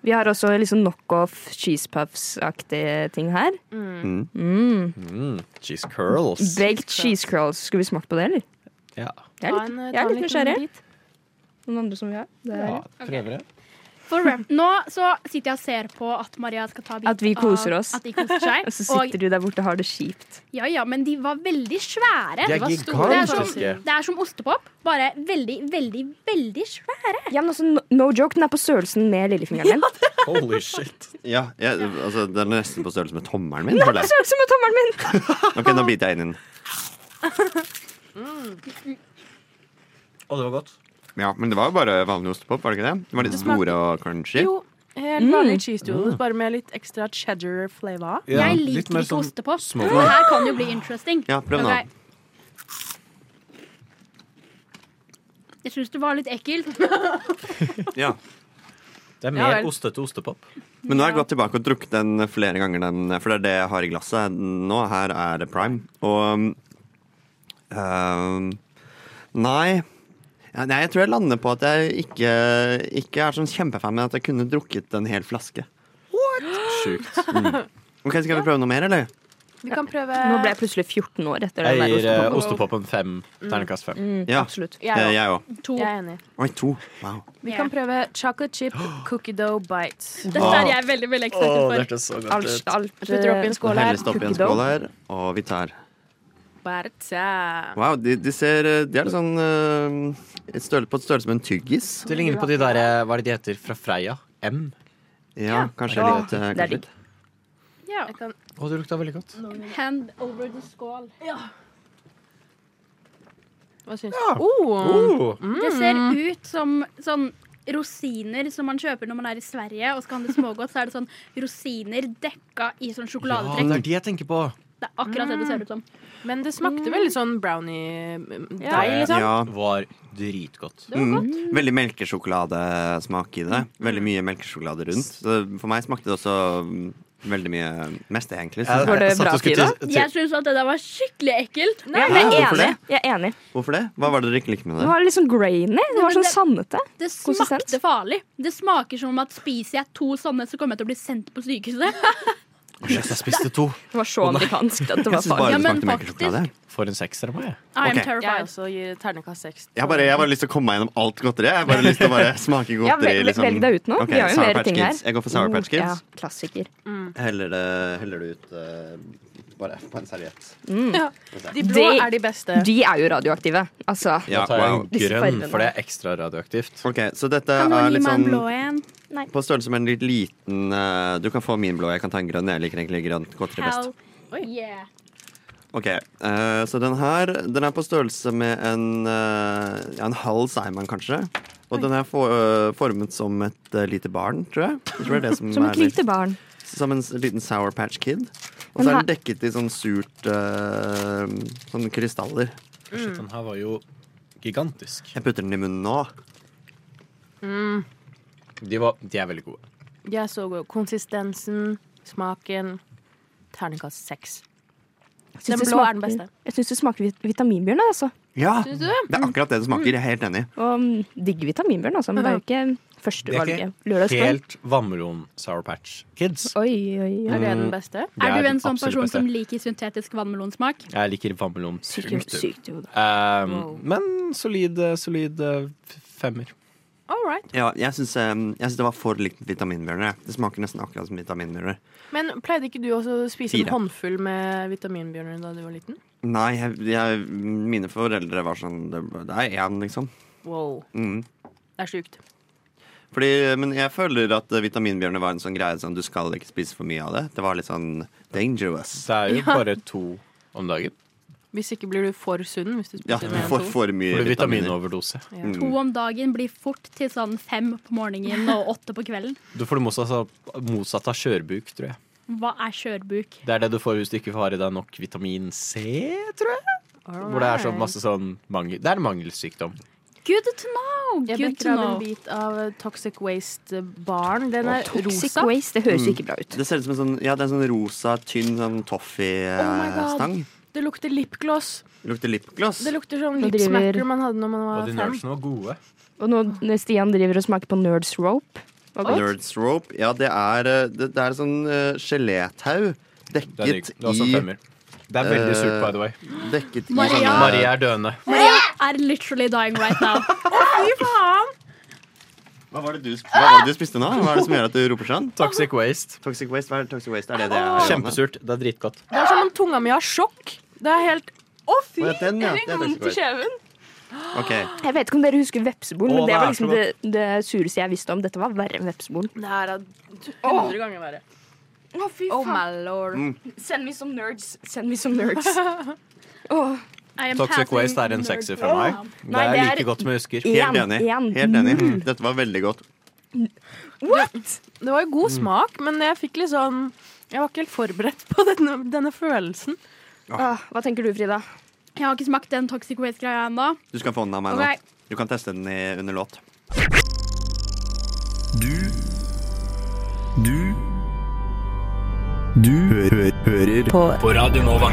S3: Vi har også liksom knockoff cheese puffs-aktige ting her.
S2: Mm.
S5: Mm, cheese curls.
S3: Baked cheese curls. Skulle vi smakt på det, eller?
S5: Ja.
S3: Jeg er
S4: Ta
S3: litt,
S4: en, eh,
S3: jeg er litt
S4: tonic
S3: nysgjerrig.
S4: med dit.
S3: Noen andre som vil ha? Det er-
S5: Ja, prøver jeg.
S1: For rep- Nå så sitter jeg og ser på at Maria skal ta bit
S3: At vi koser
S1: av-
S3: oss.
S1: At de koser seg.
S3: Og så sitter du der borte og har det kjipt.
S1: Ja, ja, men de var veldig svære.
S5: De er
S1: var store. det, er
S5: gigantiske.
S1: som, det er som ostepop, bare veldig, veldig, veldig svært.
S3: Ja, men altså, no, no joke, den er på størrelsen med lillefingeren min.
S1: sånn-
S5: Holy shit.
S2: Ja, jeg, altså, den er nesten på størrelse med tommelen min. føler jeg.
S3: Størrelsen med tommelen min!
S2: Ok, nå biter jeg inn i den.
S5: Og det var godt.
S2: Ja, men det var jo bare vanlig ostepop, var det ikke det? Det var litt store og crunchy.
S4: Jo, helt vanlig
S3: Mm.
S4: cheese doodles,
S2: Mm.
S4: bare med litt ekstra cheddar flavor.
S1: jeg liker ikke ostepop.
S5: sånn små-
S1: Det her kan jo bli interesting.
S2: Ja, prøv nå.
S1: Ok. Jeg syns det var litt ekkelt.
S2: Ja.
S5: Det er
S4: Ja
S5: mer
S4: vel.
S5: ostete ostepop.
S2: Men nå har jeg gått tilbake og drukket den flere ganger, den, for det er det jeg har i glasset nå. Her er det prime. Og um, Nei. Ja, nei, jeg tror jeg lander på at jeg ikke, ikke er sånn kjempefan, men at jeg kunne drukket en hel flaske. Mm.
S5: Sjukt.
S2: Ok, Skal vi prøve noe mer, eller?
S4: Vi kan prøve
S3: Nå ble jeg plutselig 14 år etter den
S5: Jeg
S3: der
S5: gir eh,
S3: ostepopen.
S5: ostepopen fem.
S1: Mm.
S5: Terningkast fem.
S2: Ja,
S3: Absolutt.
S2: eh,
S4: jeg,
S2: jeg òg.
S4: jeg er enig.
S2: Oi, to. Wow.
S4: Vi kan prøve chocolate chip cookie dough bites.
S1: Dette er jeg veldig veldig excited for.
S5: så
S3: Alt, alt eh,
S4: Jeg putter oppi en skål her.
S2: Helles det oppi en skål her, og vi tar.
S4: Bertha.
S2: Wow, de, de ser eh, De er litt sånn eh, et størrelse- på et størrelse med en tyggis.
S5: Det ligner på de der, eh, hva er det de heter, fra Freia? M.
S2: Ja, kanskje
S3: Ja,
S2: litt.
S3: det
S2: eh,
S3: er
S2: kanskje
S3: digg.
S2: litt.
S1: Ja.
S4: Jeg kan
S5: Å, det lukta veldig godt.
S1: Hand over the skål.
S4: Hva syns du? Oh.
S5: Oh,
S1: Det ser ut som sånn rosiner som man kjøper når man er i Sverige og skal handle smågodt. Så er det sånn rosiner dekka i sånn
S5: ja, det
S1: sjokoladetrekk.
S5: er de jeg tenker på.
S1: Det er akkurat det det ser ut som.
S4: Men det smakte veldig sånn brownie-deig,
S5: Det
S4: liksom.
S2: Ja,
S5: var dritgodt.
S4: Det var godt.
S2: Mm. Veldig melkesjokoladesmak i det.
S3: Mm.
S2: Veldig mye melkesjokolade rundt. Så for meg smakte det også mm, veldig mye mest, egentlig. synes
S3: Var
S2: jeg.
S3: det
S5: Jeg satt
S3: bra,
S5: og skulle
S3: Frida?
S5: til- til-
S1: Jeg syns at det der var skikkelig ekkelt.
S3: Ja, jeg er
S2: Hvorfor
S3: enig.
S2: det?
S3: Jeg er enig.
S2: Hvorfor det? Hva var det dere ikke likte med
S3: Det
S2: det?
S3: var litt sånn grainy. Det var
S1: men
S3: sånn
S1: det-
S3: sandete.
S1: Det
S3: Konsistens.
S1: smakte farlig. Det smaker som at spiser jeg to sånne, så kommer jeg til å bli sendt på sykehuset.
S5: Å, shit, Jeg spiste to.
S3: Det var så amerikansk. At det
S2: Jeg
S3: var
S2: synes
S3: farlig.
S2: bare
S1: Ja,
S2: det
S1: men
S2: smakte melkesjokolade.
S5: For en sekser av meg.
S1: I am
S2: Ok.
S4: Jeg
S1: terrified.
S4: også gir ternekast seks.
S2: Jeg har bare, jeg har bare lyst til å komme meg gjennom alt godteriet. Jeg har bare lyst til å bare smake
S3: Ja,
S2: godteri.
S3: vel,
S2: liksom.
S3: velg deg ut nå.
S2: Ok,
S3: Vi har jo
S2: Sour
S3: flere
S2: Patch
S3: ting her. Mm,
S2: Kids. Jeg går for Sour Patch
S3: Ja,
S2: Kids.
S3: klassiker.
S2: Heller det, heller det ut eh, bare på en serviett.
S4: De blå
S3: Det-
S4: er de beste.
S3: De er jo radioaktive. Altså.
S5: Da
S2: Ja,
S5: tar jeg
S2: wow.
S5: en
S3: Disse
S5: grønn,
S3: fargene.
S5: for det er ekstra radioaktivt.
S1: Mm.
S2: Ok, Så dette
S1: Kan
S2: er
S1: noen gi
S2: litt
S1: meg en
S2: sånn
S1: blå en? Nei.
S2: på størrelse med en litt liten eh, Du kan få min blå, jeg kan ta en grønn. Jeg liker egentlig grønt godteri best.
S1: Hell yeah.
S2: Ok, eh, så den her Den er på størrelse med en eh, Ja, en halv Simon kanskje Og den er for, eh, formet som et eh, lite barn, tror jeg, jeg tror det er det som,
S3: Som
S2: er
S3: et
S2: litt-
S3: lite barn.
S2: Som en s- liten Sour Patch Kid Og
S3: Men
S2: så er
S3: her-
S2: den dekket i sånn surt eh, Sånn krystaller
S5: Shit, den her var jo gigantisk.
S2: Jeg putter den i munnen nå
S5: De, var, de er veldig gode.
S4: De er så gode. Konsistensen, smaken. Ternekast seks. Den
S3: Jeg synes det
S4: blå er den
S3: smaker-
S4: beste.
S3: Jeg syns det smaker vit- vitaminbjørn. Altså.
S2: Ja,
S4: Syns du
S2: det
S4: det?
S2: er akkurat det det
S3: Mm.
S2: smaker, jeg er helt enig
S3: Og mm, digg vitaminbjørn, altså. Men det er jo
S5: Det
S3: ikke
S5: er
S3: førstevalget.
S5: ikke
S3: Lørdagskveld.
S5: helt Mm. vannmelon Sour Patch Kids.
S3: Oi, oi,
S4: Er
S3: oi.
S4: det
S2: Mm.
S4: den beste?
S5: Det
S1: Er du
S5: den
S1: en sånn
S5: absolutt
S1: person
S5: beste.
S1: som liker syntetisk vannmelonsmak?
S5: Jeg liker vannmelon
S3: Sykt,
S5: tungt.
S3: sykt i hodet.
S5: Um, Men solid, eh, solid eh, f- femmer.
S4: All right.
S2: Ja, jeg synes, eh, jeg synes det var for likt vitaminbjørner jeg. Det smaker nesten akkurat som vitaminbjørner
S4: Men pleide ikke du også å spise
S2: Fire.
S4: en håndfull med vitaminbjørner da du var liten?
S2: Nei, jeg, jeg, mine foreldre var sånn Det, det er en liksom
S4: Wow.
S2: Mhm
S4: Det er sjukt.
S2: Fordi, men jeg føler at eh, vitaminbjørnet var en sånn greie sånn, du skal ikke spise for mye av det. Det var litt sånn dangerous.
S5: Så det er jo bare to om dagen.
S4: Hvis ikke blir du for sunn hvis du
S2: Ja,
S4: spiser
S2: du
S4: mer enn
S2: får
S4: to.
S2: for Mm. mye
S5: For
S2: vitaminer.
S5: vitaminoverdose.
S1: To
S5: Mm.
S1: om dagen blir fort til sånn fem på morgenen og åtte på kvelden.
S5: Du får det motsatte av- motsatte av skjørbuk, tror jeg.
S1: Hva er skjørbuk?
S5: Det er det du får hvis du ikke har i deg nok vitamin C, tror jeg.
S4: All
S5: Hvor det er så
S4: right.
S5: masse sånn mangel Det er en mangelsykdom.
S1: Good to know!
S4: Jeg
S1: Good
S4: bekker
S1: to
S4: av en
S1: know.
S4: bit av eh, Toxic Waste Barn. Den er
S3: Toxic
S4: rosa.
S3: waste, det
S5: Mm.
S3: høres jo ikke bra ut.
S2: Det ser ut som en sånn, ja, det er en sånn rosa, tynn sånn
S4: Oh my God.
S2: toffee-stang.
S4: Det lukter lipgloss.
S2: Lukter lipgloss.
S4: Det lukter sånn
S3: Nå
S4: lipsmacker
S3: driver-
S4: man hadde når man var fem.
S5: var gode.
S3: Og nå når Stian driver og smaker på Nerds Rope. Hva godt?
S2: Nerds rope. Ja, det er, eh, det, det er sånn uh, gelettau
S5: Det er, digg.
S2: dekket
S5: det er også en
S2: i
S5: femmer. Det er veldig
S2: eh,
S5: surt, by the way.
S2: Dekket i
S1: Maria.
S2: sånne-
S5: Marie er døende.
S1: Maria er literally dying right now.
S2: Hva var, det du, hva var det du spiste nå? Hva er det som gjør at du roper sånn?
S5: Toxic waste.
S2: Toxic waste, hva er toxic waste? Er det det er?
S5: Kjempesurt. Det er dritgodt.
S4: Det er som om tunga mi har sjokk. Det er helt Å, fy!
S2: Å, ja, den, ja. Det er toxic waste.
S3: kjeven.
S2: Ok,
S3: Jeg vet ikke om dere husker vepsebol,
S5: Å,
S3: men det
S5: det er
S3: var liksom
S5: så
S3: det, det sureste jeg visste om. Dette var verre enn vepsebol.
S4: Det her er 100 ganger verre.
S3: Å, fy
S4: Oh my lord.
S5: Mm.
S3: Send me some nerds. Send me some nerds.
S5: Ah.
S1: I am
S5: Toxic
S1: passing
S5: waste er en
S1: nerd
S5: sekser fra
S1: down.
S5: meg. Det er
S3: det er-
S5: like godt som jeg husker.
S3: Én,
S2: helt enig.
S3: én.
S2: Helt enig. Dette var veldig godt.
S4: Det var jo god smak, men jeg fikk litt sånn Jeg var ikke helt forberedt på denne, denne følelsen.
S3: Åh, Ah, hva tenker du, Frida?
S1: Jeg har ikke smakt den toxic waste-greia ennå.
S2: Du skal få den av meg
S1: Ok.
S2: nå. Du kan teste den i, under låt.
S9: Du
S10: Du hø hø hører på. Radio Nova.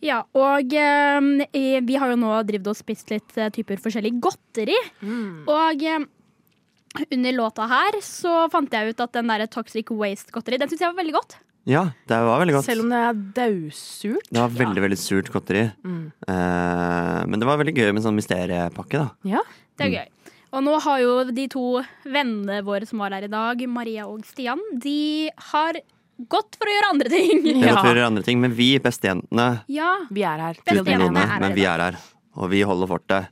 S1: Ja, og eh, eh, vi har jo nå drevet og spist litt eh, typer forskjellig godteri. Og eh, under låta her så fant jeg ut at den der Toxic Waste-godteri, den syns jeg var veldig godt.
S2: Ja, det var veldig godt.
S4: Selv om det er daudsurt.
S2: Det var veldig veldig surt godteri.
S4: Mm.
S2: Eh, men det var veldig gøy med sånn mysteriepakke, da.
S1: Det er gøy. Og nå har jo de to vennene våre som var her i dag, Maria og Stian, de har gått for å gjøre andre ting.
S2: Det var for å gjøre andre ting, men vi, bestejentene,
S1: Ja.
S4: Vi er her.
S2: Uten
S1: Bestejentene
S2: noe,
S1: er her i
S2: men vi er her. Og vi holder fortet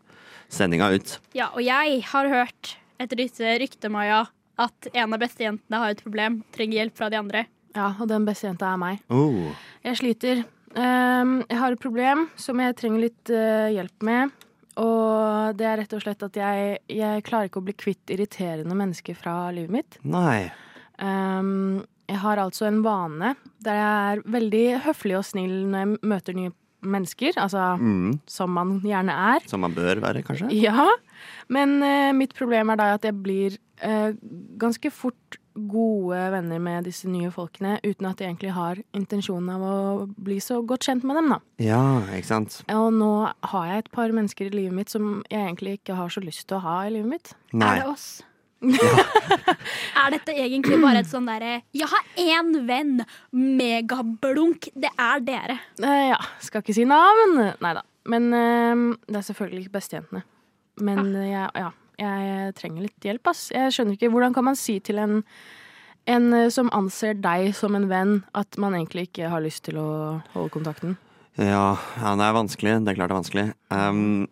S2: sendinga ut.
S1: Ja, og jeg har hørt et rykte, rykte Maja, at en av bestejentene har et problem. Trenger hjelp fra de andre.
S4: Ja, og den beste jenta er meg.
S2: Oh.
S4: Jeg sliter. Ehm, jeg har et problem som jeg trenger litt eh, hjelp med. Og det er rett og slett at jeg, jeg klarer ikke å bli kvitt irriterende mennesker fra livet mitt.
S2: Nei.
S4: Ehm, jeg har altså en vane der jeg er veldig høflig og snill når jeg møter nye mennesker. Altså
S2: Mm.
S4: som man gjerne er.
S2: Som man bør være, kanskje?
S4: Ja, men eh, mitt problem er da at jeg blir eh, ganske fort gode venner med disse nye folkene, uten at jeg egentlig har intensjonen av å bli så godt kjent med dem, da.
S2: Ja, ikke sant?
S4: Og nå har jeg et par mennesker i livet mitt som jeg egentlig ikke har så lyst til å ha i livet mitt.
S2: Nei.
S1: Er det oss? er dette egentlig bare et sånn derre 'jeg har én venn', megablunk, det er dere.
S4: Eh, ja, skal ikke si navn. Nei da. Men eh, det er selvfølgelig ikke bestejentene. Men eh, jeg, ja, jeg trenger litt hjelp, ass. Jeg skjønner ikke Hvordan kan man si til en, en eh, som anser deg som en venn, at man egentlig ikke har lyst til å holde kontakten?
S2: Ja, ja, det er vanskelig. Det er klart det er vanskelig. Ehm,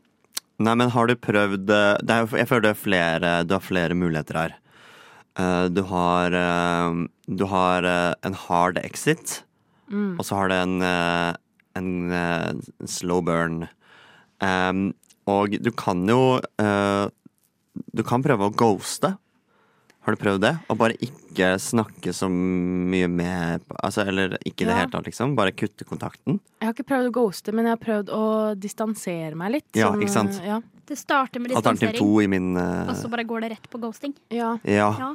S2: nei, men har du prøvd eh, det er, jo- Jeg føler det er flere, du har flere muligheter her. Eh, du har, eh, du har eh, en hard exit,
S7: Mm.
S2: og så har du en, eh, en eh, slow burn. Ehm, og du kan jo eh, Du kan prøve å ghoste. Har du prøvd det? Og bare ikke snakke så mye med altså, Eller ikke i det
S4: Ja.
S2: hele tatt, liksom. Bare kutte kontakten.
S4: Jeg har ikke prøvd å ghoste, men jeg har prøvd å distansere meg litt.
S2: Ja,
S4: sånn,
S2: ikke sant?
S4: eh, Ja.
S1: Det starter med
S2: Alternativ
S1: distansering, Altså,
S2: to i min eh, Ah,
S1: og så bare går det rett på ghosting.
S4: Ja.
S2: Ja.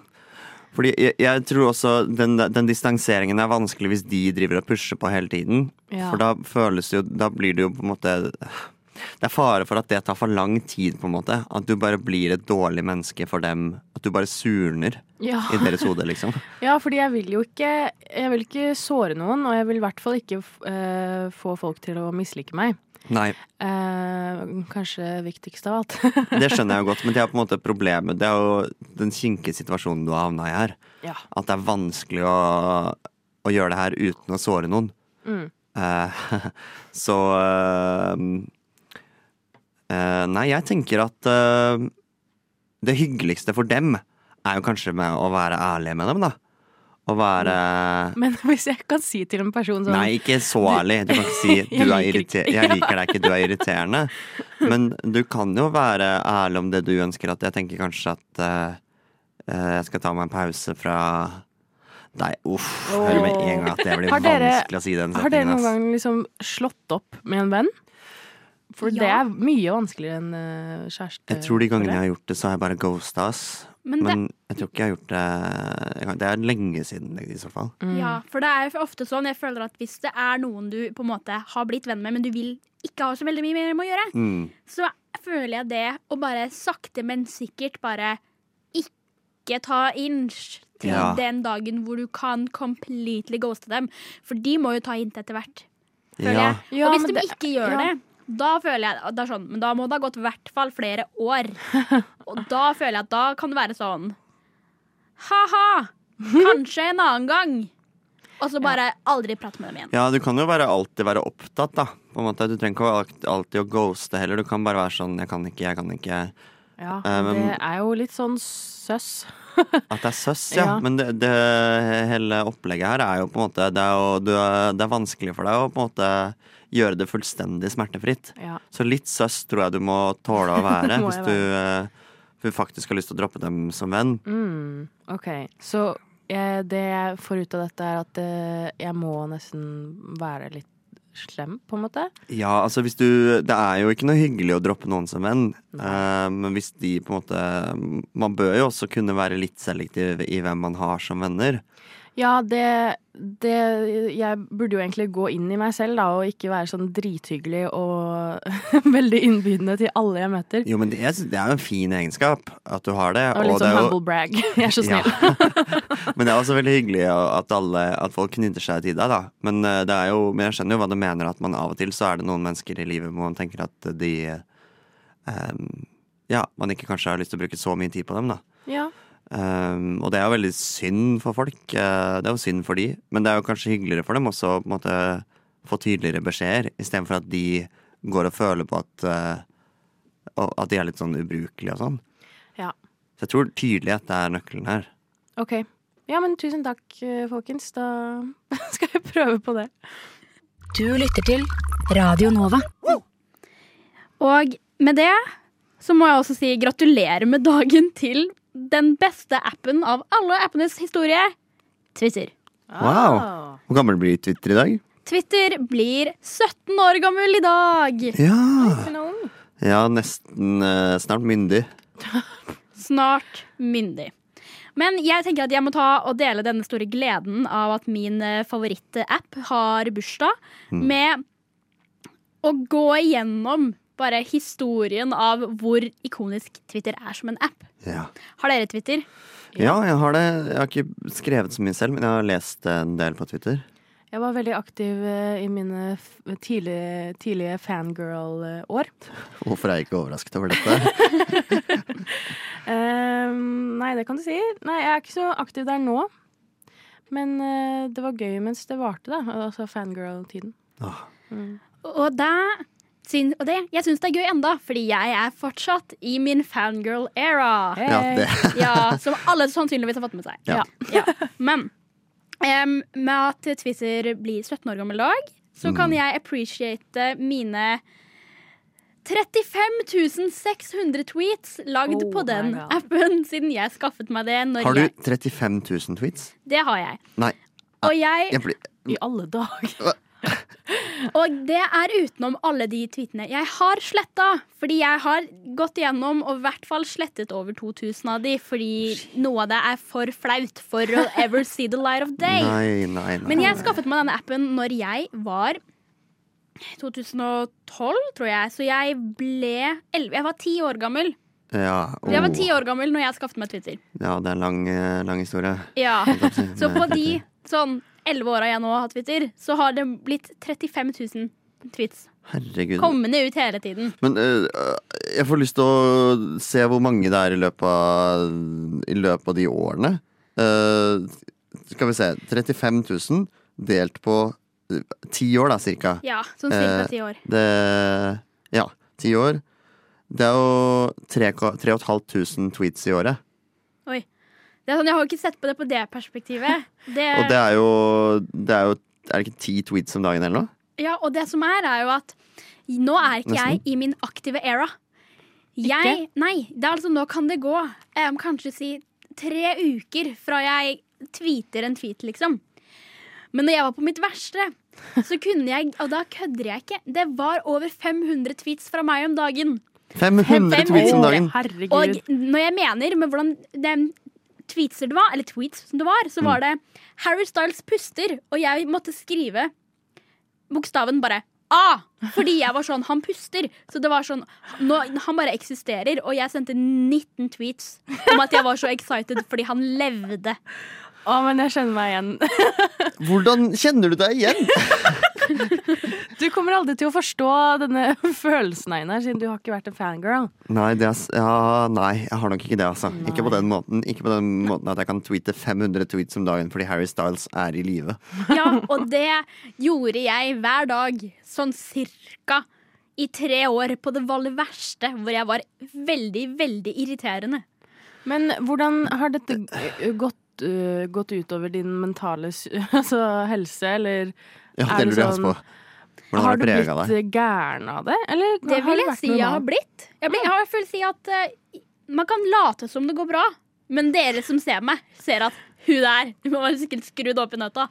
S2: Fordi jeg, jeg tror også den, den distanseringen er vanskelig hvis de driver og pusher på hele tiden.
S1: Ja.
S2: For da føles det jo Da blir det jo på en måte Det er fare for at det tar for lang tid, på en måte. At du bare blir et dårlig menneske for dem. At du bare surner
S4: Ja.
S2: i deres hode, liksom.
S4: Ja, fordi jeg vil jo ikke Jeg vil ikke såre noen, og jeg vil i hvert fall ikke f- eh, få folk til å mislike meg.
S2: Nei,
S4: Eh, kanskje viktigst av alt.
S2: det skjønner jeg jo godt, men det er på en måte problemet. Det er jo den kinkige situasjonen du har havna i her.
S4: Ja.
S2: At det er vanskelig å, å gjøre det her uten å såre noen.
S4: Mm.
S2: Eh, så eh, eh, Nei, jeg tenker at eh, det hyggeligste for dem er jo kanskje med å være ærlig med dem, da. Å være
S4: Men hvis jeg kan si til en person sånn
S2: Nei, ikke så ærlig. Du kan ikke si
S4: Jeg
S2: du er
S4: liker
S2: irriter
S4: ikke-
S2: 'jeg liker deg ikke, du er irriterende'. Men du kan jo være ærlig om det du ønsker. At jeg tenker kanskje at eh, eh, jeg skal ta meg en pause fra Nei, uff.
S4: Åh.
S2: Hører med en gang at det blir
S4: Har dere-
S2: vanskelig å si den
S4: Har dere
S2: setningen.
S4: noen
S2: ass.
S4: gang liksom slått opp med en venn? For det
S1: Ja.
S4: er mye vanskeligere enn eh, kjæreste.
S2: Jeg tror de gangene jeg har gjort det, så har jeg bare ghosta, ass.
S4: Mm,
S1: Men
S2: Men,
S1: det-
S2: jeg tror ikke jeg har gjort det en gang. Det er lenge siden, i så fall.
S4: Mm.
S1: Ja, for det er jo ofte sånn, jeg føler at hvis det er noen du på en måte har blitt venn med, men du vil ikke ha så veldig mye mer med å gjøre,
S2: Mm.
S1: så føler jeg det å bare sakte, men sikkert bare ikke ta inch til
S2: Ja.
S1: den dagen hvor du kan completely ghoste dem. For de må jo ta hint etter hvert, føler
S2: Ja.
S1: jeg.
S4: Ja,
S1: Og hvis
S4: men
S1: de
S4: det-
S1: ikke gjør
S4: ja.
S1: det, da føler jeg at det er sånn, men da må det ha gått i hvert fall flere år. Og da føler jeg at da kan det være sånn Ha-ha! Kanskje en annen gang. Og så bare aldri prate med dem igjen.
S2: Ja, du kan jo bare alltid være opptatt, da. På en måte. Du trenger ikke å alt- alltid å ghoste heller. Du kan bare være sånn 'jeg kan ikke, jeg kan ikke'.
S4: Ja,
S2: Eh, men-
S4: det er jo litt sånn søss.
S2: At det er søss, ja.
S4: Ja.
S2: Men det, det hele opplegget her er jo på en måte Det er, jo, du er, det er vanskelig for deg å på en måte gjøre det fullstendig smertefritt.
S4: Ja.
S2: Så litt søss tror jeg du må tåle å være
S4: Må
S2: hvis
S4: jeg
S2: du, eh, du faktisk har lyst til å droppe dem som venn.
S4: Mm, OK. Så eh, det jeg får ut av dette, er at eh, jeg må nesten være litt slem, på en måte.
S2: Ja, altså hvis du Det er jo ikke noe hyggelig å droppe noen som venn. eh, men hvis de på en måte Man bør jo også kunne være litt selektiv i hvem man har som venner.
S4: Ja, det, det Jeg burde jo egentlig gå inn i meg selv, da, og ikke være sånn drithyggelig og veldig innbydende til alle jeg møter.
S2: Jo, men det er, det er jo en fin egenskap at du har det.
S4: og litt
S2: det
S4: sånn
S2: er jo-
S4: humble brag. Jeg er så
S2: Ja.
S4: snill.
S2: Men det er også veldig hyggelig at, alle, at folk knytter seg til deg, da. Men, eh, det er jo, men jeg skjønner jo hva du mener, at man av og til så er det noen mennesker i livet hvor man tenker at de ehm, Ja, man ikke kanskje har lyst til å bruke så mye tid på dem, da.
S4: Ja.
S2: Ehm, og det er jo veldig synd for folk. eh, det er jo synd for de, men det er jo kanskje hyggeligere for dem også å på en måte få tydeligere beskjeder, istedenfor at de går og føler på at eh, og- At de er litt sånn ubrukelige og sånn.
S4: Ja.
S2: Så jeg tror tydelighet er nøkkelen her.
S4: Ok. Ja, men tusen takk, eh, folkens. Da skal jeg prøve på det.
S6: Du lytter til Radio Nova.
S1: Og med det så må jeg også si gratulerer med dagen til den beste appen av alle appenes historie, Twitter.
S2: Wow! Hvor gammel blir Twitter i dag?
S1: Twitter blir 17 år gammel i dag.
S2: Ja, ja nesten eh, snart myndig.
S1: Snart myndig. Men jeg tenker at jeg må ta og dele denne store gleden av at min eh, favorittapp har bursdag,
S11: Mm.
S1: med å gå igjennom bare historien av hvor ikonisk Twitter er som en app.
S2: Ja.
S1: Har dere Twitter?
S2: ja, jeg har det. Jeg har ikke skrevet så mye selv, men jeg har lest en del på Twitter.
S4: Jeg var veldig aktiv eh, i mine f- tidlige, tidlige fangirl-år.
S2: Hvorfor er jeg ikke overrasket over dette?
S4: Ehm, nei, det kan du si. Nei, jeg er ikke så aktiv der nå. Men eh, det var gøy mens det varte, da. Altså fangirl-tiden. Mm.
S1: Og det, syn- og det Jeg syns det er gøy enda, fordi jeg er fortsatt i min fangirl era.
S11: Ja, det.
S1: Ja, som alle sannsynligvis har fått med seg.
S11: Ja.
S1: Ja. Men em, med at Twitter blir 17 år gammel dag, så
S2: Mm.
S1: kan jeg appreciate mine 35 600 tweets lagd på den appen siden jeg skaffet meg det. Når
S2: Har du
S1: Jeg,
S2: 35 000 tweets?
S1: det har jeg.
S2: Nei.
S1: Og jeg,
S2: Jeg blir
S4: I alle dager.
S1: Og det er utenom alle de tweetene jeg har sletta. Fordi jeg har gått igjennom og i hvert fall slettet over 2000 av de. Fordi noe av det er for flaut for å ever see the light of day.
S2: Nei, nei, nei.
S1: Men jeg skaffet meg denne appen når jeg var 2012, tror jeg. Så jeg ble 11 Jeg var ti år gammel.
S2: Ja, oh.
S1: Jeg var ti år gammel når jeg skaffet meg Twitter.
S2: ja det er en lang, eh, lang historie.
S1: Ja,
S2: si.
S1: Så på de sånn elleve åra jeg nå har hatt Twitter, så har det blitt 35 000 tweets.
S2: Herregud.
S1: Kommende ut hele tiden.
S2: Men eh, jeg får lyst til å se hvor mange det er i løpet av, i løpet av de årene. Eh, skal vi se. 35 000 delt på eh, ti år, da, cirka.
S1: Ja, sånn cirka
S2: Eh,
S1: ti år.
S2: Det, ja, ti år. Det er jo 3500 tweets i året.
S1: Oi. Det er sånn, jeg har jo ikke sett på det på det perspektivet. Det,
S2: Og det er jo Det er jo er det ikke ti tweets om dagen eller noe?
S1: ja, og det som er, er jo at nå er ikke jeg
S2: Nesten.
S1: i min aktive era. Jeg, nei, det er altså, nå kan det gå em, kanskje si tre uker fra jeg tweeter en tweet, liksom. Men når jeg var på mitt verste, så kunne jeg Og da kødder jeg ikke. Det var over 500 tweets fra meg om dagen.
S2: 500 tweets om dagen!
S1: Og når jeg mener med hvordan det tweetser det var, eller tweets som det var, så var det Harry Styles puster, og jeg måtte skrive bokstaven bare A! Fordi jeg var sånn, han puster. Så det var sånn, nå, Han bare eksisterer. Og jeg sendte 19 tweets om at jeg var så excited fordi han levde.
S4: Å, men jeg skjønner meg igjen.
S2: Hvordan kjenner du deg igjen?
S4: Du kommer aldri til å forstå denne følelsen, Einar, siden du har ikke vært en fangirl.
S2: Nei, det er, s- ja, nei, jeg har nok ikke det, altså. Ikke på den måten Ikke på den måten at jeg kan tweete 500 tweets om dagen fordi Harry Styles er i live.
S1: Ja, og det gjorde jeg hver dag, sånn cirka, i tre år på det aller verste, hvor jeg var veldig, veldig irriterende.
S4: Men hvordan har dette eh, gått, eh, gått utover din mentale s- altså, helse, eller
S2: Ja,
S4: er
S2: det
S4: du
S2: lurer jeg også på. Hvordan har
S4: har
S2: det
S4: du
S2: prega
S4: blitt
S2: deg?
S4: eh, gæren av det? Eller
S1: Det
S4: har
S1: vil
S4: du
S1: jeg
S4: vært
S1: si jeg har
S4: normal?
S1: blitt. Jeg, blir, jeg har følt si at eh, man kan late som det går bra, men dere som ser meg, ser at hun der hun var sikkert skrudd opp i nøtta.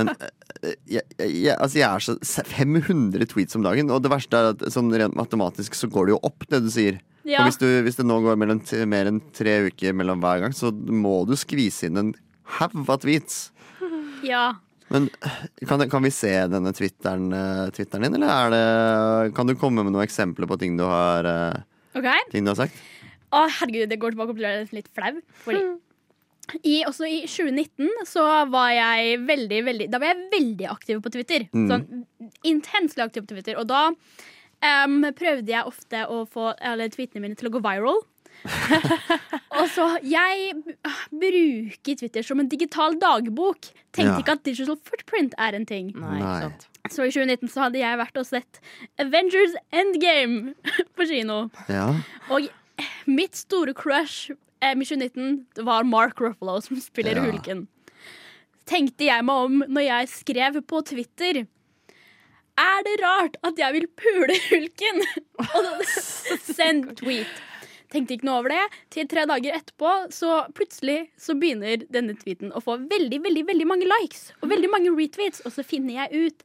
S2: Men eh, jeg, jeg, jeg, altså jeg er så se- 500 tweets om dagen, og det verste er at sånn rent matematisk så går det jo opp, det du sier.
S1: Ja.
S2: Og hvis, du, hvis det nå går mellom, t- mer enn tre uker mellom hver gang, så må du skvise inn en haug av tweets.
S1: Ja.
S2: Men eh, kan, kan vi se denne twitteren, eh, twitteren din, eller er det, kan du komme med noen eksempler på ting du har, eh,
S1: OK?
S2: ting du har sagt?
S1: Å, herregud, det går tilbake og blir litt flau. Fordi i, også i 2019 så var jeg veldig, veldig Da var jeg veldig aktiv på Twitter.
S3: Mm.
S1: Sånn intenst aktiv på Twitter. Og da em, prøvde jeg ofte å få alle tweetene mine til å gå viral. og så Jeg b- bruker Twitter som en digital dagbok. Tenkte
S3: Ja.
S1: ikke at digital footprint er en ting.
S3: Nei.
S1: Så i 2019 så hadde jeg vært og sett Avengers Endgame på kino.
S2: Ja.
S1: Og mitt store crush eh, med 2019 var Mark Ruffalo, som spiller
S3: Ja.
S1: Hulken. Tenkte jeg meg om når jeg skrev på Twitter Er det rart at jeg vil pule Hulken? Og så send tweet. Tenkte ikke noe over det. Til tre dager etterpå så plutselig så begynner denne tweeten å få veldig veldig, veldig mange likes og veldig mange retweets. Og så finner jeg ut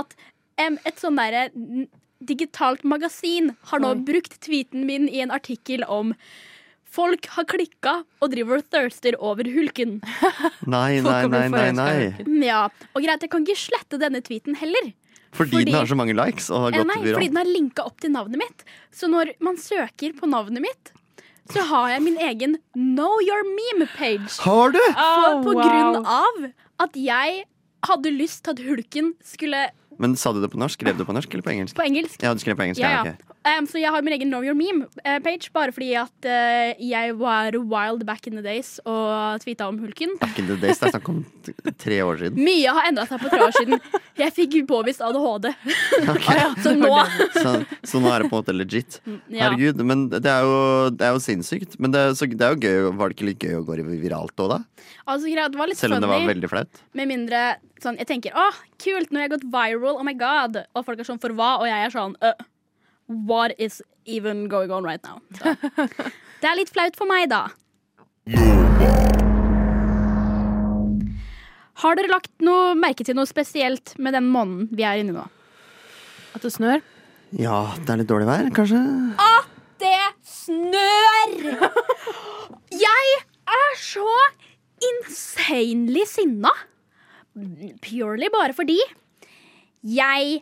S1: at em, et sånn derre n- digitalt magasin har nå
S3: Oi.
S1: brukt tweeten min i en artikkel om Folk har klikka og driver og thirster over hulken.
S2: Nei, nei, nei, nei, nei.
S1: Ja, og greit, Jeg kan ikke slette denne tweeten heller.
S2: Fordi, den har så mange likes og har
S1: Eh,
S2: gått
S1: Nei, fordi
S2: viralt.
S1: den er linka opp til navnet mitt. Så når man søker på navnet mitt, så har jeg min egen Know your meme-page.
S2: Har du?
S1: For,
S3: Oh,
S1: på
S3: wow.
S1: grunn av at jeg hadde lyst til at hulken skulle
S2: Men sa du det på norsk? Skrev du på norsk eller på engelsk?
S1: På engelsk.
S2: Ja, du skrev på engelsk,
S1: Ja,
S2: ja,
S1: ja.
S2: ok.
S1: Em, så jeg har min egen Know Your Meme-page, bare fordi at eh, jeg var wild back in the days og tweeta om hulken.
S2: Back in the days, det er snakk om t- tre år siden.
S1: Mye har endra seg på tre år siden. Jeg fikk påvist ADHD. Så nå
S2: Så, så nå er det på en måte legit.
S1: Mm, Ja.
S2: Herregud, men det er jo, det er jo sinnssykt. Men det er, så, det er jo gøy, var det ikke litt gøy å gå viralt òg, da?
S1: Altså, greit, det var litt
S2: Selv om det var
S1: funny.
S2: veldig flaut.
S1: Med mindre sånn, jeg tenker åh, kult, nå har jeg gått viral, oh my god. Og folk er sånn for hva? Og jeg er sånn «Øh, what is even going on right now? Så. Det er litt flaut for meg, da. Har dere lagt noe merke til noe spesielt med den måneden vi er inne i nå?
S4: At det snør?
S2: Ja, det er litt dårlig vær, kanskje?
S1: At det snør! Jeg er så insanely sinna. Purely bare fordi jeg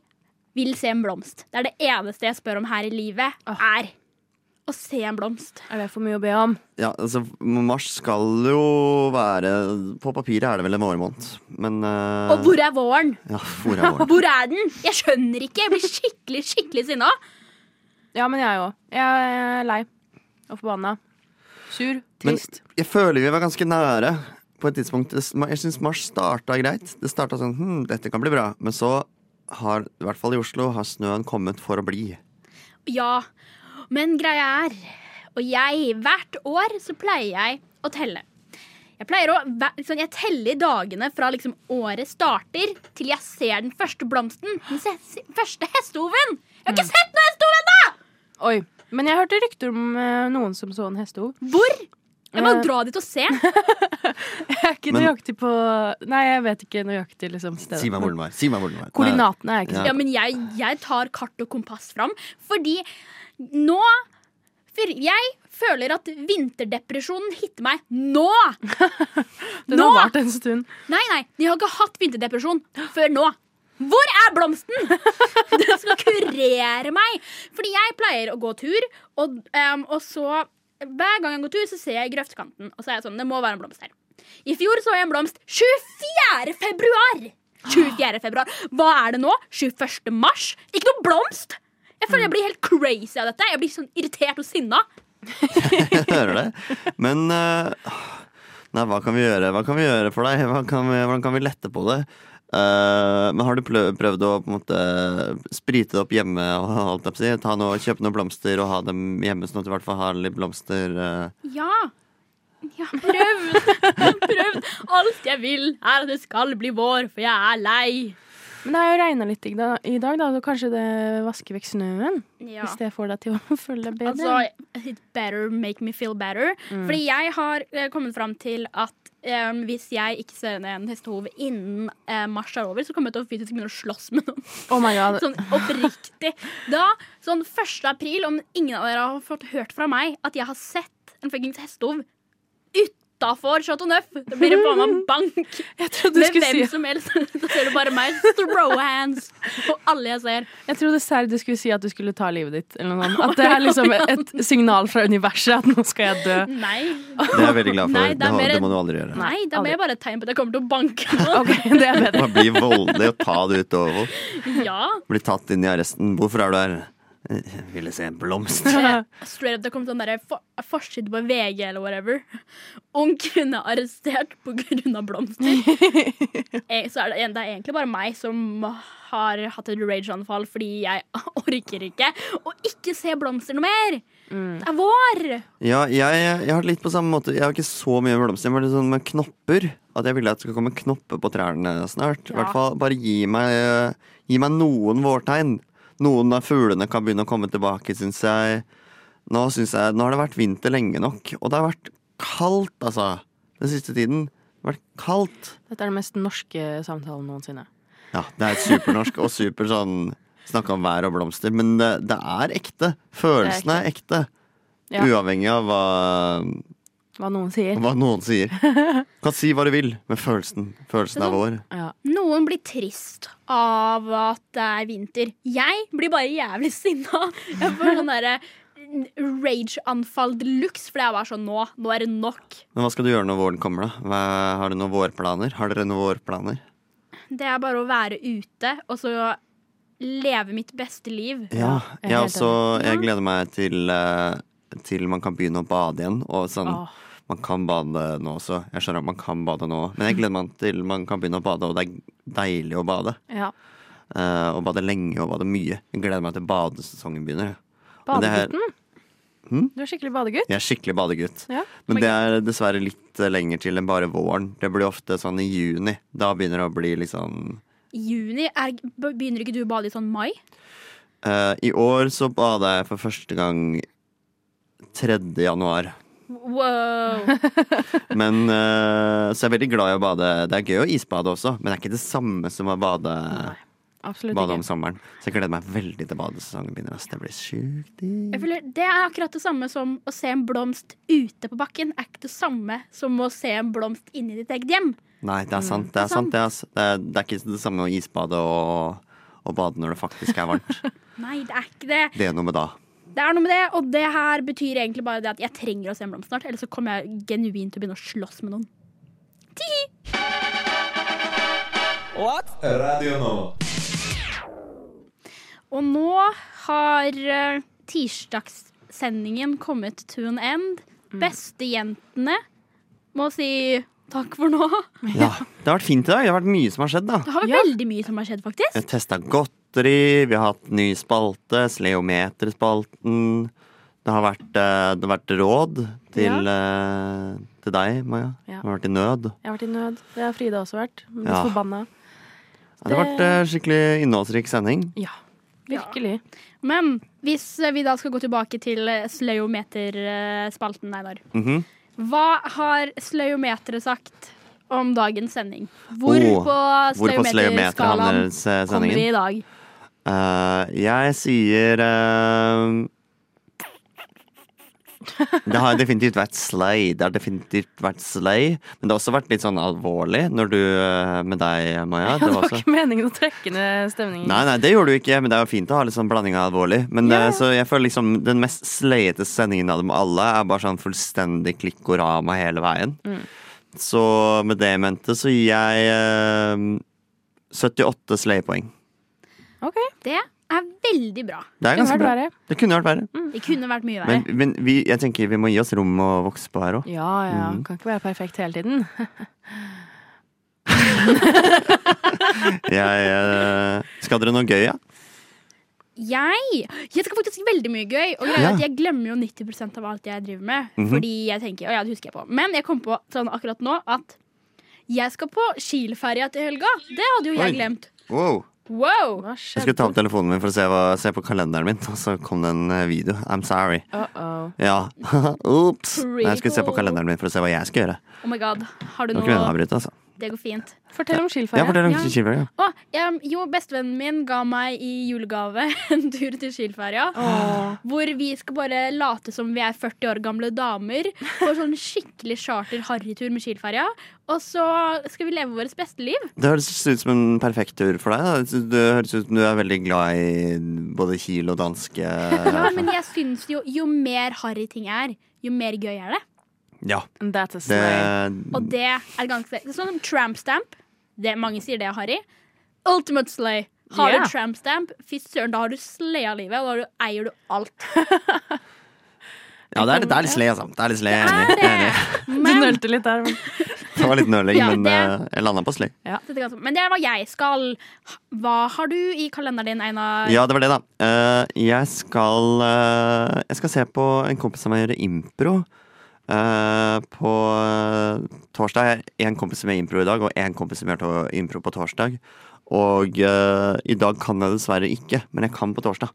S1: vil se en blomst. Det er det eneste jeg spør om her i livet, er å se en blomst.
S4: Er det for mye å be om?
S2: Ja, altså Mars skal jo være På papiret er det vel en vårmåned, men eh,
S1: Og hvor er våren?
S2: Ja, hvor er våren?
S1: Hvor er den? Jeg skjønner ikke. Jeg blir skikkelig, skikkelig sinna.
S4: Ja, men jeg òg. Jeg er lei og forbanna. Sur.
S2: Men
S4: Trist.
S2: jeg føler vi var ganske nære på et tidspunkt. Det- Jeg syns mars starta greit. Det starta sånn hm, dette kan bli bra. Men så har, i hvert fall i Oslo, har snøen kommet for å bli.
S1: Ja, men greia er Og jeg, hvert år så pleier jeg å telle. Jeg pleier å hver- sånn, Jeg teller dagene fra liksom året starter til jeg ser den første blomsten. Den se, se- første hestehoven! Jeg har ikke sett noen hestehove ennå!
S4: Oi. Men jeg hørte rykter om eh, noen som så en hestehov.
S1: Hvor? Jeg må
S4: Eh.
S1: dra dit og se.
S4: Jeg er ikke nøyaktig på Nei, jeg vet ikke nøyaktig liksom, stedet.
S2: Si meg hvor den var. Si meg hvor den var.
S4: Koordinatene er jeg ikke
S2: Ja.
S1: Ja, men jeg, jeg tar kart og kompass fram, fordi nå for Jeg føler at vinterdepresjonen hitter meg nå!
S4: Den har vart en stund.
S1: Nei, nei, de har ikke hatt vinterdepresjon før nå. Hvor er blomsten?! Den skal kurere meg! Fordi jeg pleier å gå tur, og, em, og så Hver gang jeg går tur, så ser jeg grøftkanten, og så er jeg sånn Det må være en blomst her. I fjor så jeg en blomst 24. februar! 24. februar. Hva er det nå? 21. mars? Ikke noe blomst! Jeg føler jeg blir helt crazy av dette. Jeg blir sånn irritert og sinna.
S2: Jeg hører det. Men eh, Nei, hva kan vi gjøre? Hva kan vi gjøre for deg? Hva kan vi, hvordan kan vi lette på det? Eh, men har du plø- prøvd å på en måte sprite det opp hjemme? og holdt jeg på å si? Ta noe, Kjøpe noen blomster og ha dem hjemme, sånn at du i hvert fall har litt blomster? eh,
S1: Ja. Jeg har prøvd. Jeg har prøvd. Alt jeg vil, er at det skal bli vår, for jeg er lei.
S4: Men det har jo regna litt i dag, i dag da, så kanskje det vasker vekk snøen?
S1: Ja.
S4: Hvis det får deg til å føle deg bedre?
S1: Altså, it better make me feel better.
S4: Mm.
S1: Fordi jeg har eh, kommet fram til at eh, hvis jeg ikke ser en hestehove innen eh, mars er over, så kommer jeg til å fysisk begynne å slåss med noen.
S4: Oh my god.
S1: Sånn oppriktig. Da, sånn 1. april, om ingen av dere har fått hørt fra meg at jeg har sett en fuckings hestehov utafor Chateau Neuf. Det blir det faen meg bank
S4: du
S1: med
S4: skulle
S1: hvem
S4: si-
S1: som helst. Da ser du bare meg. Throw hands på alle jeg ser.
S4: Jeg trodde serr du skulle si at du skulle ta livet ditt. Eller noe sånt. At det er liksom et signal fra universet at nå skal jeg dø.
S1: Nei.
S2: Det er jeg veldig glad for.
S1: Nei,
S2: det,
S1: det er mer-
S2: det må du aldri gjøre.
S1: Nei, det er mer bare et tegn på at jeg kommer til å banke
S4: det er bedre.
S2: Bare bli voldelig og ta det utover.
S1: Ja.
S2: Bli tatt inn i arresten. Hvorfor er du her? Eh, Jeg ville se en blomst.
S1: Eh, Straight up, det kom sånn derre for, forside på VG eller whatever. Ung kvinne arrestert på grunn av blomster. Eh, Så er det, det er egentlig bare meg som har hatt et rage-anfall fordi jeg orker ikke å ikke se blomster noe mer.
S4: Mm.
S1: Det er vår!
S2: Ja, jeg, jeg har det litt på samme måte. Jeg har ikke så mye blomster. Jeg var litt sånn med knopper. At jeg ville at det skal komme knopper på trærne snart. I
S1: Ja.
S2: hvert fall Bare gi meg, eh, gi meg noen vårtegn. Noen av fuglene kan begynne å komme tilbake, syns jeg. Nå, synes jeg. Nå har det vært vinter lenge nok. Og det har vært kaldt, altså. Den siste tiden. Det har vært kaldt.
S4: Dette er den mest norske samtalen noensinne.
S2: Ja, det er supernorsk og super sånn Snakke om vær og blomster, men det, det er ekte. Følelsene er ekte.
S4: Ja.
S2: Uavhengig av hva,
S4: Hva noen sier.
S2: hva noen sier. Kan si hva du vil, men følelsen, følelsen er vår.
S1: Noen blir trist av at det er vinter. Jeg blir bare jævlig sinna. Jeg får sånn derre rage-anfall de luxe, for jeg var sånn nå, nå er det nok.
S2: Men hva skal du gjøre når våren kommer, da? Hva, har du noen vårplaner? Har dere noen vårplaner?
S1: Det er bare å være ute og så leve mitt beste liv.
S2: Ja, jeg, også, jeg gleder meg til, eh, til man kan begynne å bade igjen. Og sånn,
S1: Åh.
S2: Man kan bade nå også. Jeg skjønner at man kan bade nå, men jeg gleder meg til man kan begynne å bade, og det er deilig å bade.
S4: Ja.
S2: Eh, og bade lenge og bade mye. Jeg gleder meg til badesesongen begynner. jeg. Men det her-
S4: Badegutten.
S2: Hm?
S4: Du er skikkelig badegutt.
S2: Jeg er skikkelig badegutt.
S4: Ja.
S2: Men det er dessverre litt eh, lenger til enn bare våren. Det blir ofte sånn i juni. Da begynner det å bli litt sånn
S1: I juni er, begynner ikke du å bade i sånn mai?
S2: Eh, I år så bada jeg for første gang 3. januar.
S1: Wow.
S2: Men, eh, så jeg er veldig glad i å bade. Det er gøy å isbade også, men det er ikke det samme som å bade,
S4: Absolutt
S2: bade om
S4: ikke.
S2: sommeren. Så jeg gleder meg veldig til badesesongen begynner. ass. Det blir sjukt digg.
S1: Jeg føler Det er akkurat det samme som å se en blomst ute på bakken. Er ikke det samme som å se en blomst inni ditt eget hjem.
S2: Nei, det er sant. Mm, Det er, sant. det, ass. Det, er, det er ikke det samme å isbade og, og bade når det faktisk er varmt.
S1: Nei, det er ikke det.
S2: Det er noe med da.
S1: Det er noe med det, og det her betyr egentlig bare det at jeg trenger å se en blomst snart. Ellers så kommer jeg genuint til å begynne å slåss med noen. Tihi!
S12: Radio nå.
S1: Og nå har eh, tirsdagssendingen kommet to an end. Bestejentene må si takk for nå.
S2: Ja, Det har vært fint i dag. Det har vært mye som har skjedd, da.
S1: Det har vært veldig mye som har skjedd, faktisk.
S2: Vi har testa godteri, vi har hatt ny spalte, Sleometerspalten. Det har vært, eh, det har vært råd til, eh, til deg, Maja.
S4: Ja.
S2: Du har vært i nød.
S4: Jeg har vært i nød. Det har Frida også vært. Hun er
S2: Ja.
S4: forbanna.
S2: Ja, Det har vært eh, skikkelig innholdsrik sending.
S4: Ja. Virkelig.
S1: Men hvis vi da skal gå tilbake til eh, sleometerspalten, Einar.
S2: Mhm.
S1: Hva har sleometeret sagt om dagens sending? Hvor
S2: Oh,
S1: på
S2: hvor på
S1: sleometerskalaen
S2: sleometerhandlerens, eh,
S1: kommer vi i
S2: sendingen?
S1: dag?
S2: Eh, jeg sier eh, Det har definitivt vært slay. Det har definitivt vært slay. Men det har også vært litt sånn alvorlig når du, eh, med deg, Maja.
S4: Ja, det var
S2: også-
S4: ikke meningen å trekke ned stemningen.
S2: Nei, nei, det gjorde du ikke, men det er jo fint å ha litt sånn blanding av alvorlig. Men eh, så jeg føler liksom den mest sleiete sendingen av dem alle er bare sånn fullstendig klikkorama hele veien.
S4: Mm.
S2: Så med det jeg mente, så gir jeg eh, 78 sleiepoeng.
S4: OK.
S1: Det er veldig bra.
S2: Det er
S4: Kunne
S2: ganske
S4: vært
S2: bra.
S4: verre. Mm,
S2: Det kunne vært verre.
S1: Det kunne vært mye verre.
S2: Men, men vi, jeg tenker vi må gi oss rom å vokse på her òg.
S4: Ja, ja.
S2: Mm.
S4: Kan ikke være perfekt hele tiden.
S2: eh, skal dere noe gøy, ja?
S1: Jeg Jeg skal faktisk veldig mye gøy. Og greia
S2: Ja.
S1: er at jeg glemmer jo 90 av alt jeg driver med.
S2: Mhm.
S1: Fordi jeg tenker, å ja, det husker jeg på Men jeg kom på sånn akkurat nå at jeg skal på Kiel-ferja til helga. Det hadde jo jeg
S2: Oi.
S1: glemt.
S2: Wow.
S1: Wow!
S2: Jeg skulle ta opp telefonen min for å se, hva, se på kalenderen min, og så kom det en eh, video. I'm sorry.
S4: Uh-oh.
S2: Ja. Ops.
S1: Pretty
S2: Nei, jeg skulle se på
S1: cool.
S2: kalenderen min for å se hva jeg skal gjøre.
S1: Oh my god. Har du
S2: Det var ikke meningen å
S1: noe
S2: avbryte, altså.
S1: Det går fint.
S4: Fortell om skilferie.
S2: Ja, fortell om skiferie, ja.
S1: Å, em, jo, bestevennen min ga meg i julegave en tur til Skilferja.
S4: Åh.
S1: Hvor vi skal bare late som vi er 40 år gamle damer. På sånn skikkelig charter-harrytur med Skilferja. Og så skal vi leve vårt beste liv.
S2: Det høres ut som en perfekt tur for deg. Da. Det høres ut som du er veldig glad i både Kiel og eh, danske
S1: Ja, men jeg syns jo jo mer harry ting er, jo mer gøy er det.
S2: Ja.
S4: That's a
S2: Det,
S1: Og det er ganske det er Sånn som tramp stamp. Det, mange sier det er harry. Ultimate slay. Har
S4: Yeah.
S1: du tramp stamp, fy søren, da har du slaya livet. Og da har du, eier du alt.
S2: ja, det er, det er litt sled, altså. Det er litt sled, jeg er enig. Jeg er enig.
S4: Du nølte litt der. men-
S2: Det var litt nøling,
S1: Ja,
S2: men
S1: det-
S2: eh, jeg landa på sled.
S1: Så det er ganske- Men det er hva jeg skal. Hva har du i kalenderen din, Einar?
S2: Ja, det var det, da. Eh, jeg skal eh, Jeg skal se på en kompis som gjør impro. eh, på eh, torsdag Jeg har én kompis som gjør impro i dag, og én kompis som gjør to- impro på torsdag. Og eh, i dag kan jeg dessverre ikke, men jeg kan på torsdag.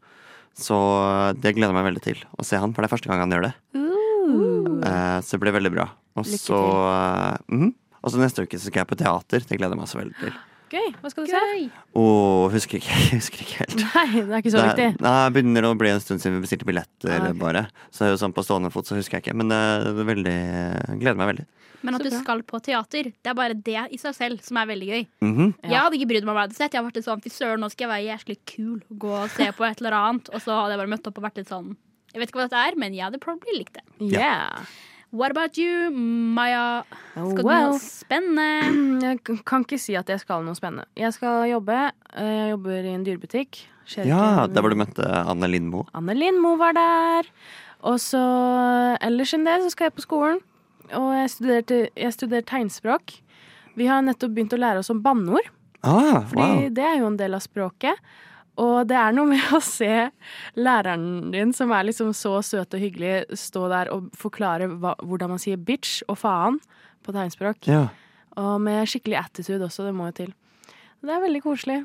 S2: Så eh, det gleder jeg meg veldig til å se han, for det er første gang han gjør det.
S4: Uh.
S2: Eh, så det blir veldig bra. Og
S4: Lykke
S2: så eh, mhm. Og så neste uke så skal jeg på teater. Det gleder jeg meg også veldig til.
S4: Gøy. Hva skal du se?
S2: Og husker ikke, husker ikke helt.
S4: Nei, det er ikke så
S2: Det er-
S4: viktig.
S2: Nei, det begynner å bli en stund siden vi bestilte billetter,
S4: Ah, ok.
S2: bare. Så det er jo sånn på stående fot så husker jeg ikke. Men eh, det er veldig, jeg gleder meg veldig.
S1: Men at
S4: Så
S1: du
S4: bra.
S1: skal på teater, det er bare det i seg selv som er veldig gøy.
S2: Mhm.
S1: Jeg hadde ikke brydd meg om jeg hadde sett. Jeg har vært litt sånn, fy søren, nå skal jeg være jævlig kul og gå og se på et eller annet. Og så hadde jeg bare møtt opp og vært litt sånn Jeg vet ikke hva dette er, men jeg hadde probably likt det.
S4: Yeah.
S1: What about you, Maya? Skal du
S4: Wow.
S1: noe spennende?
S4: um, Jeg k- kan ikke si at jeg skal noe spennende. Jeg skal jobbe. Eh, Jeg jobber i en dyrebutikk. Skjer
S2: Ja,
S4: ikke-
S2: der hvor du møtte Anne Lindmo.
S4: Anne Lindmo var der. Og så ellers enn det så skal jeg på skolen. Og jeg studerte, jeg studerer tegnspråk. Vi har nettopp begynt å lære oss om banneord,
S2: Ah,
S4: Fordi
S2: wow.
S4: det er jo en del av språket. Og det er noe med å se læreren din, som er liksom så søt og hyggelig, stå der og forklare hva, hvordan man sier bitch og faen på tegnspråk.
S2: Ja.
S4: Og med skikkelig attitude også, det må jo til. Det er veldig koselig.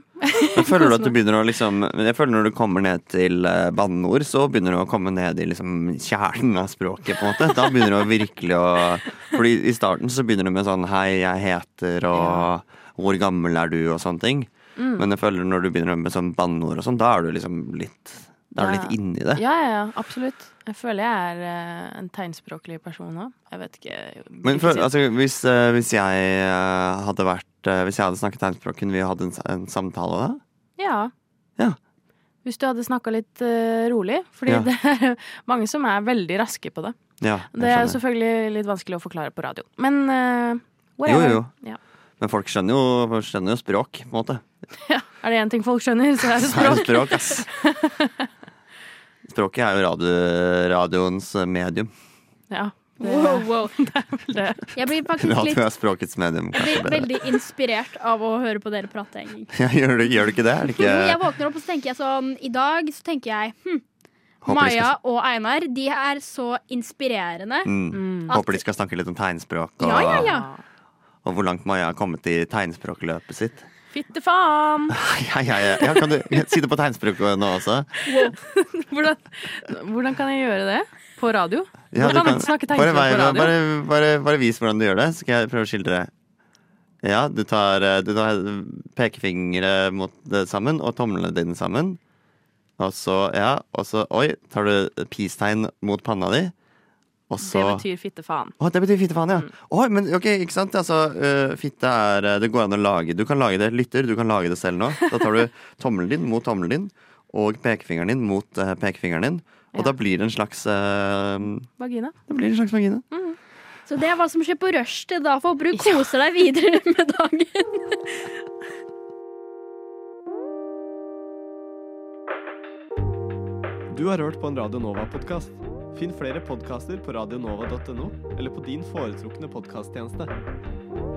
S2: Jeg føler du at du begynner å liksom Jeg føler når du kommer ned til eh, banneord, så begynner du å komme ned i liksom kjernen av språket, på en måte. Da begynner du virkelig å Fordi i starten så begynner du med sånn hei, jeg heter, og hvor gammel er du, og sånne ting.
S4: Mm.
S2: Men jeg føler når du begynner med sånn banneord og sånn, da er du liksom litt Da er du
S4: Ja.
S2: litt inni det.
S4: Ja, ja, ja, absolutt. Jeg føler jeg er eh, en tegnspråklig person òg. Jeg vet ikke.
S2: Men for, altså, hvis, eh, hvis jeg eh, hadde vært eh, Hvis jeg hadde snakket tegnspråk, kunne vi hatt en, s- en samtale da?
S4: ja.
S2: altså- Ja.
S4: Hvis du hadde snakka litt eh, rolig, fordi
S2: Ja.
S4: det er mange som er veldig raske på det.
S2: Ja, jeg
S4: Det er altså
S2: skjønner.
S4: selvfølgelig litt vanskelig å forklare på radioen, men eh,
S2: Jo,
S4: whatever.
S2: jo, jo.
S4: Ja.
S2: Men folk skjønner jo, folk skjønner jo språk, på en måte.
S4: Er det én ting folk skjønner, så er det
S2: Det er jo
S4: språk.
S2: språk, ass. Språket er jo radio, radioens medium.
S4: Ja, det er
S1: Wow, wow.
S4: vel det.
S1: Jeg blir faktisk litt
S2: Radio er språkets medium,
S1: jeg
S2: kanskje
S1: blir
S2: bedre.
S1: veldig inspirert av å høre på dere prate. egentlig.
S2: Ja, gjør, du, gjør du ikke det? Er det
S1: Jo,
S2: ikke
S1: jeg våkner opp og så tenker jeg sånn I dag så tenker jeg hm,
S2: Håper de
S1: Maja
S2: skal-
S1: og Einar de er så inspirerende.
S2: mm. Ah.
S4: Mm.
S2: Håper de skal snakke litt om tegnspråk og,
S1: Ja, ja, ja.
S2: og hvor langt Maja har kommet i tegnspråkløpet sitt.
S4: Fitte faen!
S2: Ja, ja, ja. ja kan du si det på tegnspråk nå også?
S4: Hvordan, hvordan kan jeg gjøre det? På radio?
S2: Ja,
S4: Hvordan
S2: du kan-
S4: snakke
S2: bare,
S4: tegnspråk på
S2: vei-
S4: radio?
S2: Bare, bare, bare vis hvordan du gjør det, så skal jeg prøve å skildre. Ja, du tar, eh, du tar pekefingre mot det sammen, og tomlene dine sammen. Og så, ja, og så, oi, tar du peace-tegn mot panna di. Og
S4: Det
S2: så
S4: betyr fitte faen.
S2: Å, det betyr fitte faen, ja. Oi, men ok, ikke sant? Altså, eh, fitte er eh, Det går an å lage. Du kan lage det, lytter, du kan lage det selv nå. Da tar du tommelen din mot tommelen din, og pekefingeren din mot eh, pekefingeren din. Og da blir det en slags eh,
S4: Vagina.
S2: det blir en slags vagina.
S1: Så det er hva som skjer på rushtid, da. Får du kose deg videre med dagen.
S12: Du har hørt på en Radio Nova-podkast. Finn flere podkaster på radionova.no eller på din foretrukne podkasttjeneste.